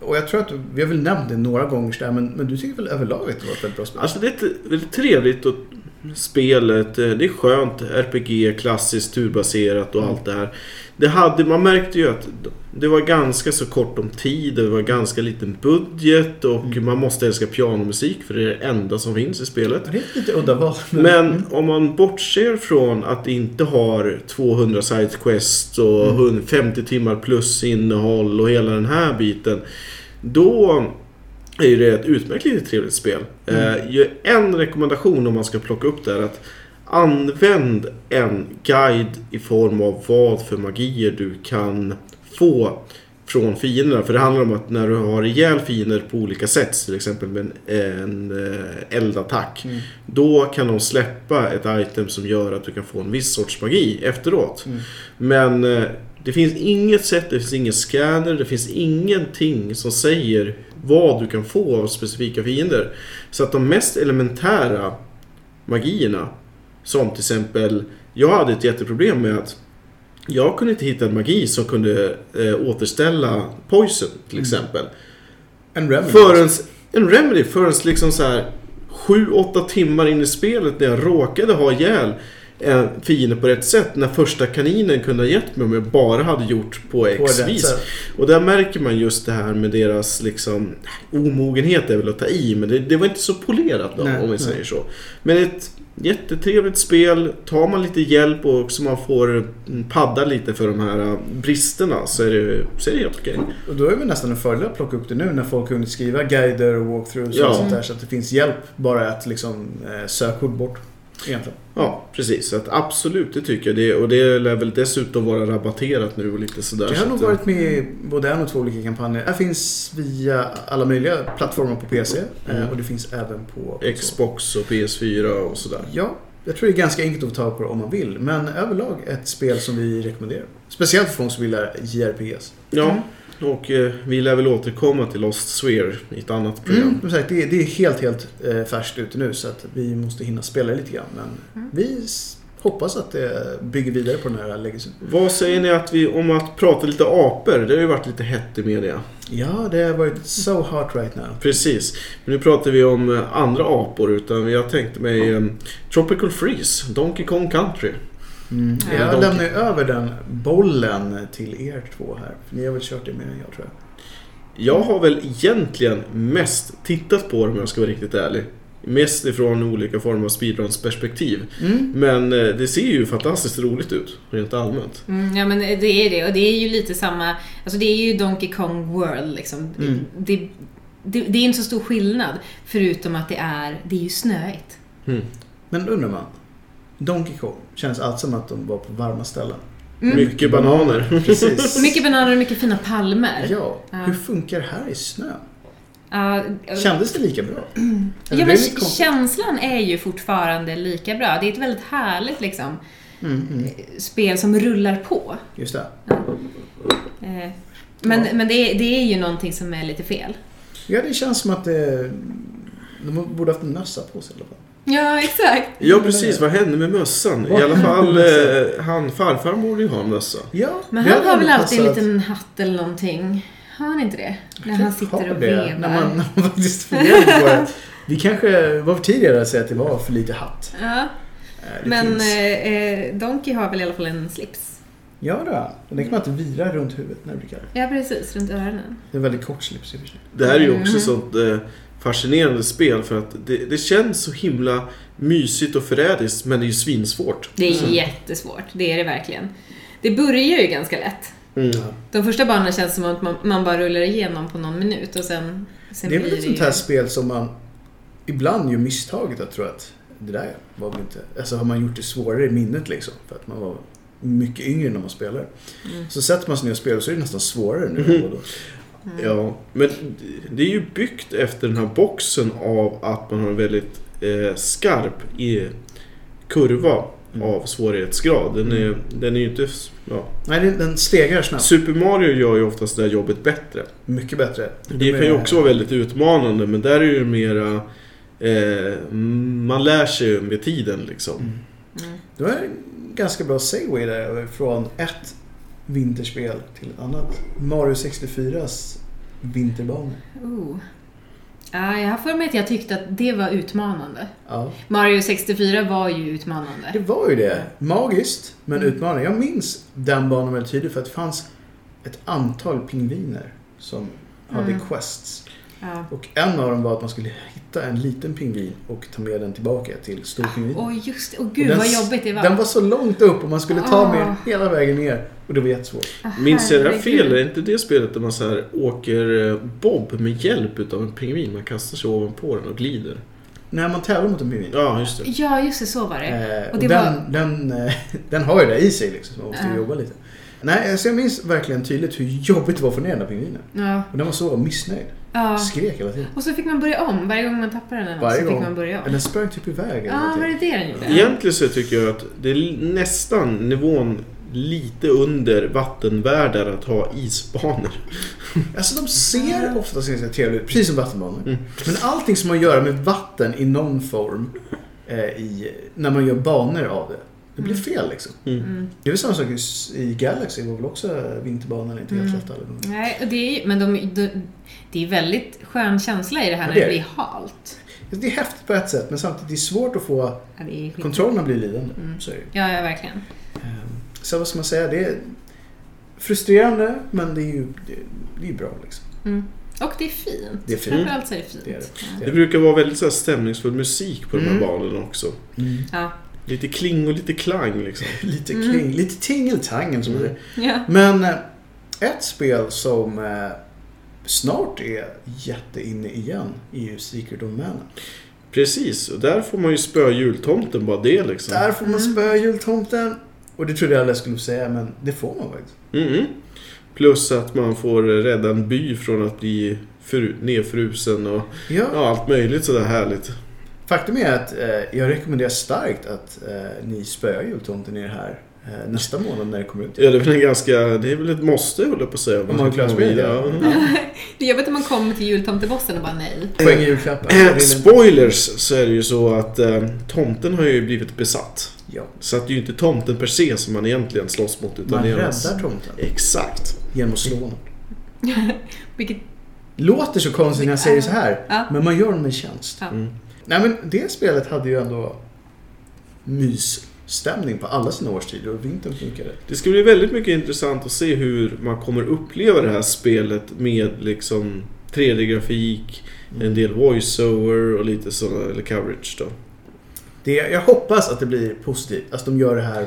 och jag tror att vi har väl nämnt det några gånger sådär, men, men du tycker väl överlag att det var ett väldigt bra spel?
Alltså det är ett väldigt trevligt och spelet. eh, Det är skönt. RPG, klassiskt, turbaserat och
Mm.
allt det här. Det hade, man märkte ju att det var ganska så kort om tid. Det var ganska liten budget och
Mm.
man måste älska pianomusik för det är det enda som finns i spelet.
det är ett lite udda val.
Men om man bortser från att det inte har 200 side quests och
Mm.
150 timmar plus innehåll och hela den här biten. Då är ju det ett utmärkt litet trevligt spel.
Mm.
Eh, ju- en rekommendation om man ska plocka upp det är att använd en guide i form av vad för magier du kan få från fienderna. För det handlar om att när du har ihjäl fiender på olika sätt, till exempel med en, en eh, eldattack.
Mm.
Då kan de släppa ett item som gör att du kan få en viss sorts magi efteråt.
Mm.
Men eh, det finns inget sätt, det finns ingen scanner, det finns ingenting som säger vad du kan få av specifika fiender. Så att de mest elementära magierna, som till exempel, jag hade ett jätteproblem med att jag kunde inte hitta en magi som kunde eh, återställa poison till
Mm.
exempel.
En remedy.
Förrän, en remedy förrän liksom så här 7-8 timmar in i spelet när jag råkade ha ihjäl en fiende på rätt sätt. När första kaninen kunde ha gett mig om jag bara hade gjort på
På
X
rätt
vis.
sätt.
Och där märker man just det här med deras liksom omogenhet är väl att ta i men det, det var inte så polerat då
Nej,
om vi
nej.
säger så. Men ett jättetrevligt spel. Tar man lite hjälp och också man får mm, padda lite för de här äh, bristerna så är det, så är det helt okej.
Och då är vi nästan en fördel att plocka upp det nu när folk har hunnit skriva guider och walkthroughs
Ja.
och sånt där. Så att det finns hjälp bara att liksom eh, sökord bort. Egentligen.
Ja precis, så att absolut det tycker jag. Det, och det lär väl dessutom vara rabatterat nu och lite sådär.
Det
så
har nog
att, eh, mm.
varit med i både en och två olika kampanjer. Det finns via alla möjliga plattformar på PC. eh,
Mm.
Och det finns även på...
eh, Xbox och PS4 och sådär.
Ja, jag tror det är ganska enkelt att få tag på det om man vill. Men överlag ett spel som vi rekommenderar. Speciellt för de som gillar JRPGs.
Ja,
Mm.
och eh, vi lär väl återkomma till Lost Sphere i ett annat program.
Mm. Som sagt, det, är, det är helt, helt eh, färskt ute nu så att vi måste hinna spela lite grann. Men
Mm.
vi s- hoppas att det bygger vidare på den här legacyn.
Vad säger ni att vi, om att prata lite apor? Det har ju varit lite hett i media.
Ja, det har varit so hot right now.
Precis. Men nu pratar vi om eh, andra apor. Utan jag tänkte mig eh, Tropical Freeze, Donkey Kong Country.
Ja.
Mm. Jag
Donkey.
lämnar ju över den bollen till er två här. För ni har väl kört det mer än jag tror jag.
Jag har väl egentligen mest tittat på dem om jag ska vara riktigt ärlig. Mest ifrån olika former av speedruns-perspektiv.
Mm.
Men eh, det ser ju fantastiskt roligt ut, rent allmänt.
Mm, ja men det är det och det är ju lite samma, alltså det är ju Donkey Kong World liksom.
Mm.
Det, det, det är inte så stor skillnad förutom att det är, det är ju snöigt.
Men undrar man. Donkey Kong känns allt som att de var på varma ställen.
Mm.
Mycket bananer.
Precis.
Och mycket bananer och mycket fina palmer.
Ja,
Ja.
hur funkar det här i snö?
Ja,
Kändes det lika bra? Eller det
ja men
är lite konstigt.
känslan är ju fortfarande lika bra. Det är ett väldigt härligt liksom,
Mm, mm.
spel som rullar på.
Just det.
Eh, Men,
Ja.
men det, är, det är ju någonting som är lite fel.
Ja, det känns som att det, de borde haft en mössa på sig i alla fall.
Ja, exakt.
Ja precis, vad hände med mössan? I
Vad
alla
hände med
fall
mössan?
eh, han farfar borde ju ha en mössa.
Ja,
Men
det
han
hade
har väl
ändå
alltid en
passat.
liten hatt eller någonting? Har han inte det? När han sitter
Har
och
det,
vevar.
När man, när man faktiskt funderar på det. Vi kanske var för tidigare att säga att det var för lite hatt.
Ja,
Eh, Det
men
finns-
eh, eh, Donkey har väl i alla fall en slips?
Ja, då. Den kan man inte vira runt huvudet när du brukar.
Ja, precis. Runt öronen.
Det är en väldigt kort slips i och för sig.
Det här är ju också
Mm.
sånt eh, fascinerande spel för att det, det känns så himla mysigt och förrädiskt men det är ju svinsvårt.
Det är
Mm.
jättesvårt. Det är det verkligen. Det börjar ju ganska lätt.
Mm.
De första banorna känns som att man, man bara rullar igenom på någon minut och sen, sen
Det är väl
blir
ett
det ju...
sånt här spel som man ibland gör misstaget att tro att det där var väl inte... Alltså har man gjort det svårare i minnet liksom. För att man var mycket yngre när man spelade.
Mm.
Så sätter man sig ner och spelar så är det nästan svårare nu.
Mhm.
Mm. än vad då.
Ja, men det är ju byggt efter den här boxen av att man har en väldigt eh, skarp i kurva
Mm.
av svårighetsgrad. Den är,
Mm.
den är ju inte... s- Ja.
Nej, den- den stegrar snabbt.
Super Mario gör ju oftast det här jobbet bättre.
Mycket bättre.
Det kan ju också vara väldigt utmanande men där är det ju mera... Eh, man lär sig med tiden liksom.
Mm.
Mm.
Det var en ganska bra segway där eh, från ett vinterspel till ett annat. Mario 64s vinterbanor.
Oh. Ja, jag har för mig att jag tyckte att det var utmanande.
Ja.
Mario 64 var ju utmanande.
Det var ju det. Magiskt, men
Mm.
utmanande. Jag minns den banan väldigt tydligt för att det fanns ett antal pingviner som hade
Mm.
quests.
Ja.
Och en av dem var att man skulle hitta en liten pingvin och ta med den tillbaka till storpingvinen.
Åh just det. Åh
Mm. Och
gud
den
vad
s-
jobbigt det var.
Den var så långt upp och man skulle ta med
Ah.
den hela vägen ner. Och det var jättesvårt.
Ah,
Minns jag det här
herregud.
fel? Är inte det spelet där man så här åker eh, bob med hjälp utav en pingvin? Man kastar sig ovanpå den och glider.
När man tävlar mot en pingvin.
Ja, just det.
Ja, just det. Så var det.
Eh,
Och
och
det
den,
var-
den, eh, den har ju det i sig liksom, så man måste ju
Ja.
jobba lite. Nej, alltså jag minns verkligen tydligt hur jobbigt det var att få ner den där pingvinen.
Ja.
Och den var så missnöjd.
ja.
Skrek hela tiden.
Och så fick man börja om. Varje gång man tappade den eller något
Varje
så fick
gång.
man börja
Men
om.
den sprang typ iväg eller
Ja, var
någonting.
det det den gjorde?
Egentligen så tycker jag att det är nästan nivån lite under vattenvärdar att ha isbanor.
Alltså de ser oftast ganska trevliga ut, precis som vattenbanor.
Mm.
Men allting som man gör med vatten i någon form eh, i, när man gör banor av det. Det blir fel liksom.
Mm.
Det är väl samma sak i- i Galaxy, var väl också vinterbanan inte helt
Mm.
lätt alla gånger.
Nej, och det är ju, men de, de, det är väldigt skön känsla i det här
Ja,
när
det
det
är det.
blir halt.
Alltså, Det är häftigt på ett sätt men samtidigt är det svårt att få
Ja, det är skit.
kontrollen blir lidande.
Mm.
Så är det.
Ja, ja, verkligen.
Ehm, Så vad ska man säga? Det är frustrerande men det är ju det, det är bra liksom.
Mm. Och det är fint.
Det är fint.
Framförallt så är det fint.
Mm. Det är det.
Det brukar vara väldigt så här stämningsfull musik på de här
Mm.
balen också.
Ja.
Lite kling och lite klang liksom.
Lite
Mm.
kring, lite tingeltangen som det
Ja.
Men eh, ett spel som eh, snart är jätteinne igen är ju Secret of Mana.
Precis, och där får man ju spöa jultomten bara det liksom.
Där får man
Mm.
spöa jultomten. Och det trodde jag aldrig jag skulle säga men det får man faktiskt.
Mm. Plus att man får rädda en by från att bli fru- nedfrusen och
Ja,
ja, allt möjligt sådär härligt.
Faktum är att eh, jag rekommenderar starkt att eh, ni spöar jultomten i det här eh, nästa månad när det kommer ut.
Ja, det är väl en ganska... Det är väl ett måste, höll jag på att säga.
Om man klarar
ska
spelet.
komma
Ja.
vidare.
Det är jobbigt om man kommer till jultomtebossen och bara nej.
Poäng i julklappar. Det är
Ja.
inte-
Eh, Spoilers så är det ju så att eh, tomten har ju blivit besatt.
Ja.
Så att det är ju inte tomten per se som man egentligen slåss mot utan
Man
det är hans-
räddar tomten
Exakt.
genom att slå honom.
Vilket,
Låter så konstigt när jag säger så här,
ja.
men man gör honom en tjänst.
Ja.
Mm.
Nej men det spelet hade ju ändå mysstämning på alla sina årstider och vintern funkade.
Det ska bli väldigt mycket intressant att se hur man kommer uppleva det här spelet med liksom 3D-grafik, en del voiceover och lite sådana, eller coverage då.
Det, jag hoppas att det blir positivt, att de gör det här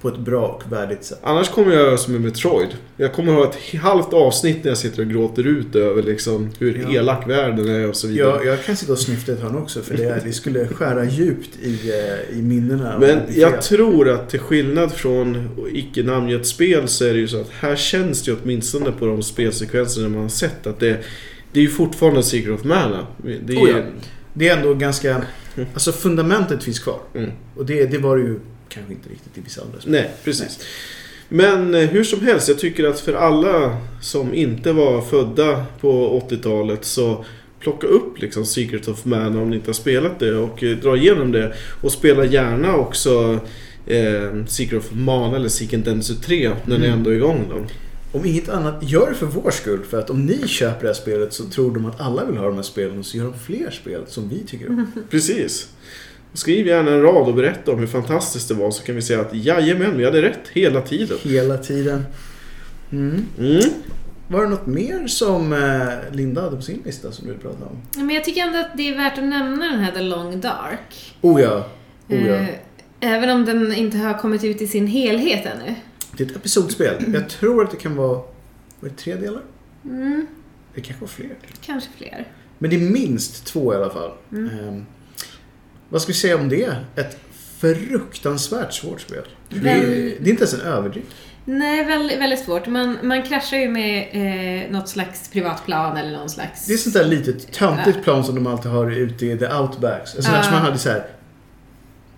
på ett bra och värdigt sätt.
Annars kommer jag göra som i Metroid. Jag kommer ha ett halvt avsnitt när jag sitter och gråter ut över liksom hur
Ja.
elak världen är och så vidare.
Jag, jag kan sitta och snyfta ett hörn också för det, det skulle skära djupt i, eh, i minnena.
Men
och i
jag
fel.
tror att till skillnad från icke namngett spel så är det ju så att här känns det ju åtminstone på de spelsekvenserna man har sett att det, det är ju fortfarande Secret of Mana. Det är,
Oh ja. Det är ändå ganska... Alltså fundamentet finns kvar.
Mm.
Och det, det var det ju kanske inte riktigt i vissa andra spel.
Nej, precis. Men eh, hur som helst, jag tycker att för alla som inte var födda på 80-talet så plocka upp liksom Secret of Man om ni inte har spelat det och eh, dra igenom det. Och spela gärna också eh, Secret of Man eller Secret Densu 3 när ni
Mm.
ändå är igång då.
Om inget annat, gör det för vår skull. För att om ni köper det här spelet så tror de att alla vill ha de här spelen. Så gör de fler spel som vi tycker om.
Precis. Skriv gärna en rad och berätta om hur fantastiskt det var så kan vi säga att jajamän, vi hade rätt hela tiden.
Hela tiden. Mm.
Mm.
Var det något mer som eh, Linda hade på sin lista som du pratade om?
men jag tycker ändå att det är värt att nämna den här The Long Dark.
Oh ja. Oh ja.
Eh, Även om den inte har kommit ut i sin helhet ännu.
Det är ett episodspel. Jag tror att det kan vara... Var det tre delar?
Mm,
Det kanske var fler.
kanske fler.
Men det är minst två i alla fall.
Mm.
Ehm, vad ska vi säga om det? Ett fruktansvärt svårt spel. Det är,
Väl-
det är inte ens en överdrift.
Nej, väldigt, väldigt svårt. Man, man kraschar ju med eh, något slags privatplan eller någon slags...
Det är sånt där litet töntigt plan som de alltid har ute i the outbacks. Alltså,
Ja.
uh. som man hade så här.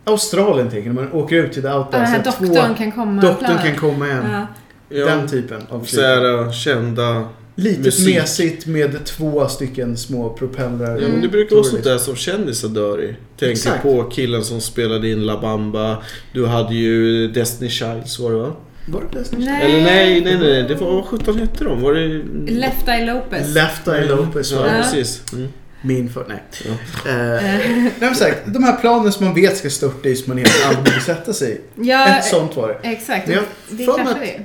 Australien tänker jag, när man åker ut till the
Ja, den
outbacks.
här
så här, alltså, två-
doktorn kan komma.
doktorn
planen.
kan komma igen.
Ja.
Ja,
Den typen av
så här, äh, kända...
Litet
musik.
mesigt med två stycken små propellrar.
Ja, men det brukar vara sånt där som kändisar dör i. Tänk
Exakt.
på killen som spelade in La Bamba. Du hade ju Destiny Childs var det va?
Var det Destiny?
Nej.
Eller nej, nej, nej. Det var, vad sjutton hette de? Var det...
Left Eye Lopez.
Left Eye Lopez
Ja,
var det.
Ja.
precis. Mm.
Min för... Nej.
Ja.
Eh, nej men sagt, de här planen som man vet ska störta i som man egentligen aldrig vill sätta sig i.
ja,
Ett sånt var det.
exakt.
Men jag
det
för mig
kraschar
att-
ju.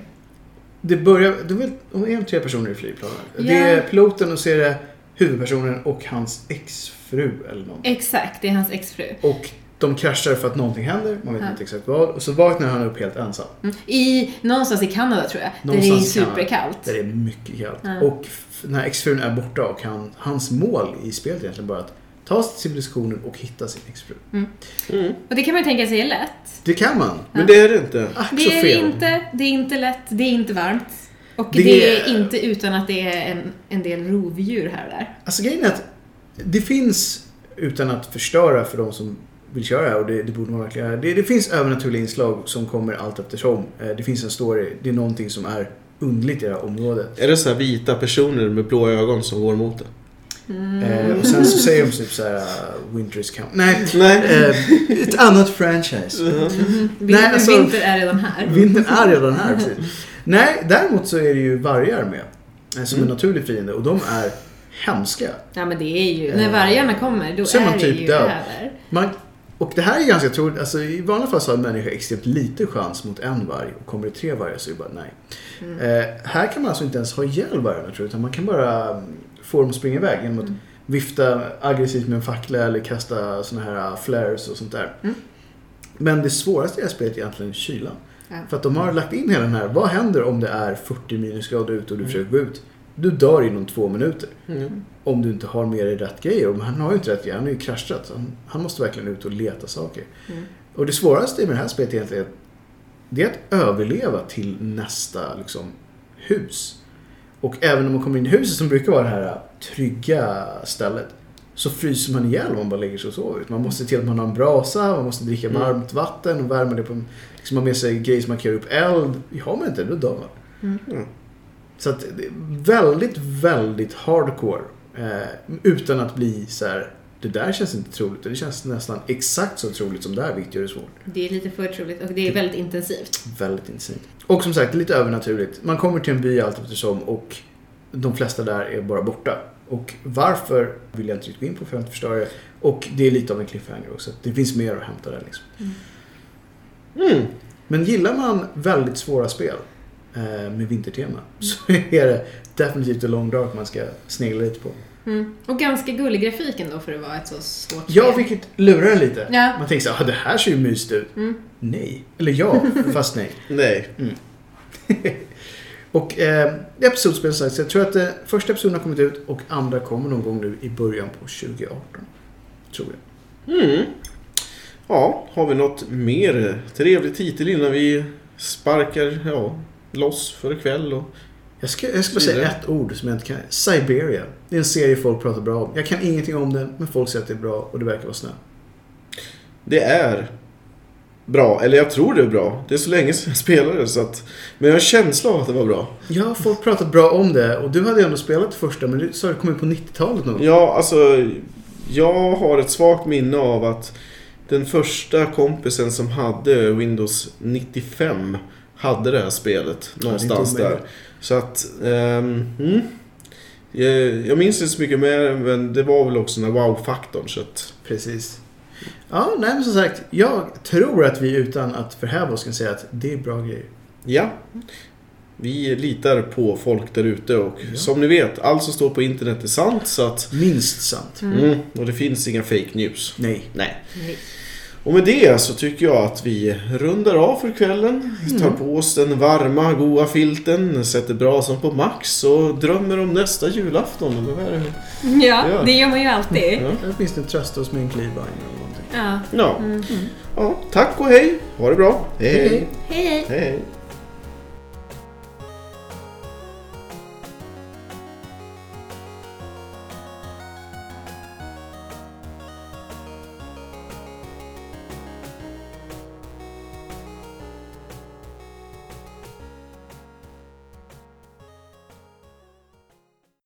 Det börjar, det är väl en tre personer i flygplanet. Det
Ja.
är piloten och så är det huvudpersonen och hans exfru eller någon.
Exakt, det är hans exfru.
Och de kraschar för att någonting händer, man vet
Eh. Ja.
inte exakt vad. Och så vaknar han upp helt ensam.
Mm. I, någonstans i Kanada tror jag.
Någonstans i
där det är
Kanada.
superkallt.
Där det är mycket kallt.
Ja.
Och f- den här exfrun är borta och han, hans mål i spelet är egentligen bara att ta sig till civilisationen och hitta sin exfru.
Mm.
Och det kan man ju tänka sig är lätt.
Det kan man.
Men det är det inte.
Ack så
Det är det
fel.
inte. Det är inte lätt. Det är inte varmt. Och
Det
det,
är-
är inte utan att det är en, en del rovdjur här och där.
Alltså grejen är att det finns, utan att förstöra för de som vill köra det här, och det, det borde man verkligen göra. Det, det finns övernaturliga inslag som kommer allt eftersom. Eh, Det finns en story, det är någonting som är underligt i det här området.
Är det så här vita personer med blå ögon som går mot det?
Mm.
Eh, och sen så säger de typ såhär uh, Winter is coming. Nej,
Nej.
eh, ett annat franchise.
Vinter,
alltså-
Mm. vinter är redan här.
Vintern är redan här precis. Nej, däremot så är det ju vargar med. eh, Som en naturlig fiende och de är hemska.
Ja, men det är ju... När vargarna kommer, då
Så är
är
man
det
typ
ju
död.
över.
Man, och det här är ganska troligt. Alltså, I vanliga fall så har en människa extremt lite chans mot en varg. Och kommer det tre vargar så är det bara nej. Eh, här kan man alltså inte ens ha ihjäl vargarna tror jag. Utan man kan bara mm, få dem att springa iväg genom att vifta aggressivt med en fackla eller kasta såna här äh, flares och sånt där.
Mm.
Men det svåraste i det här spelet är egentligen kylan.
Ja.
För att de har lagt in hela den här, vad händer om det är 40 minusgrader ute och du försöker gå ut? Du dör inom två minuter.
Mm.
Om du inte har med dig rätt grejer. Och han har ju inte rätt grejer, han är ju kraschat. Så han, han måste verkligen ut och leta saker.
Mm.
Och det svåraste med det här spelet egentligen är att det är att överleva till nästa liksom, hus. Och även om man kommer in i huset som brukar vara det här trygga stället så fryser man ihjäl om man bara lägger sig och sover. Man måste se till att man har en brasa, man måste dricka
Mm.
varmt vatten och värma det på en, liksom ha med sig grejer som markerar upp eld. Har man inte det, då dör man.
Mm.
Så att det är väldigt, väldigt hardcore. Eh, utan att bli så här. Det där känns inte troligt. Det känns nästan exakt så troligt som det här, vilket gör det svårt.
Det är lite för troligt och
Typ.
det är väldigt intensivt.
Väldigt intressant. Och som sagt, lite övernaturligt. Man kommer till en by allt eftersom och de flesta där är bara borta. Och varför vill jag inte riktigt gå in på för att inte förstöra det. Och det är lite av en cliffhanger också. Det finns mer att hämta där liksom.
Mm.
Men gillar man väldigt svåra spel eh, med vintertema så är det definitivt The Long Dark man ska snegla lite på.
Mm. Och ganska gullig grafik ändå för att vara ett så svårt
Jag
spel.
fick lura en lite.
Ja.
Man tänker så här, "Ah, det här ser ju mysigt ut.
Mm.
Nej. Eller ja, fast nej.
Nej.
Och eh, det är episodspel som sagt, så jag tror att eh, första episoden har kommit ut och andra kommer någon gång nu i början på 2018. Tror jag.
Mm. Ja, har vi något mer trevlig titel innan vi sparkar ja, loss för ikväll? Och...
Jag ska, jag ska bara säga
Vidare.
ett ord som jag inte kan. Siberia. Det är en serie folk pratar bra om. Jag kan ingenting om den, men folk säger att det är bra och det verkar vara snö.
Det är bra, eller jag tror det är bra. Det är så länge sedan jag spelade så att... Men jag har en känsla av att det var bra.
Ja, folk pratat bra om det och du hade ju ändå spelat det första, men du sa att det kom ut på 90-talet någon gång.
Ja, alltså... Jag har ett svagt minne av att den första kompisen som hade Windows 95 hade det här spelet
det är inte
någonstans där.
omöjligt.
Så att... ehm, mm. Jag- Jag minns inte så mycket mer, men det var väl också den här wow-faktorn. Så att,
Precis. Ja, nej men som sagt, jag tror att vi utan att förhäva oss kan säga att det är bra grejer.
ja. Vi litar på folk där ute och
Ja.
som ni vet, allt som står på internet är sant. Så att,
Minst sant.
mm, och det finns inga fake news.
Nej.
Nej.
Nej.
Och med det så tycker jag att vi rundar av för kvällen. Tar på oss den varma, goa filten, sätter brasan på max och drömmer om nästa julafton. Eller vad är det?
Ja,
Ja.
det gör man ju alltid.
Ja.
Eller åtminstone trösta oss med en glühwein eller någonting.
Ja.
Ja. ja, tack och hej! Ha det bra!
Hej,
hej!
hej.
Hej, hej.
hej, hej.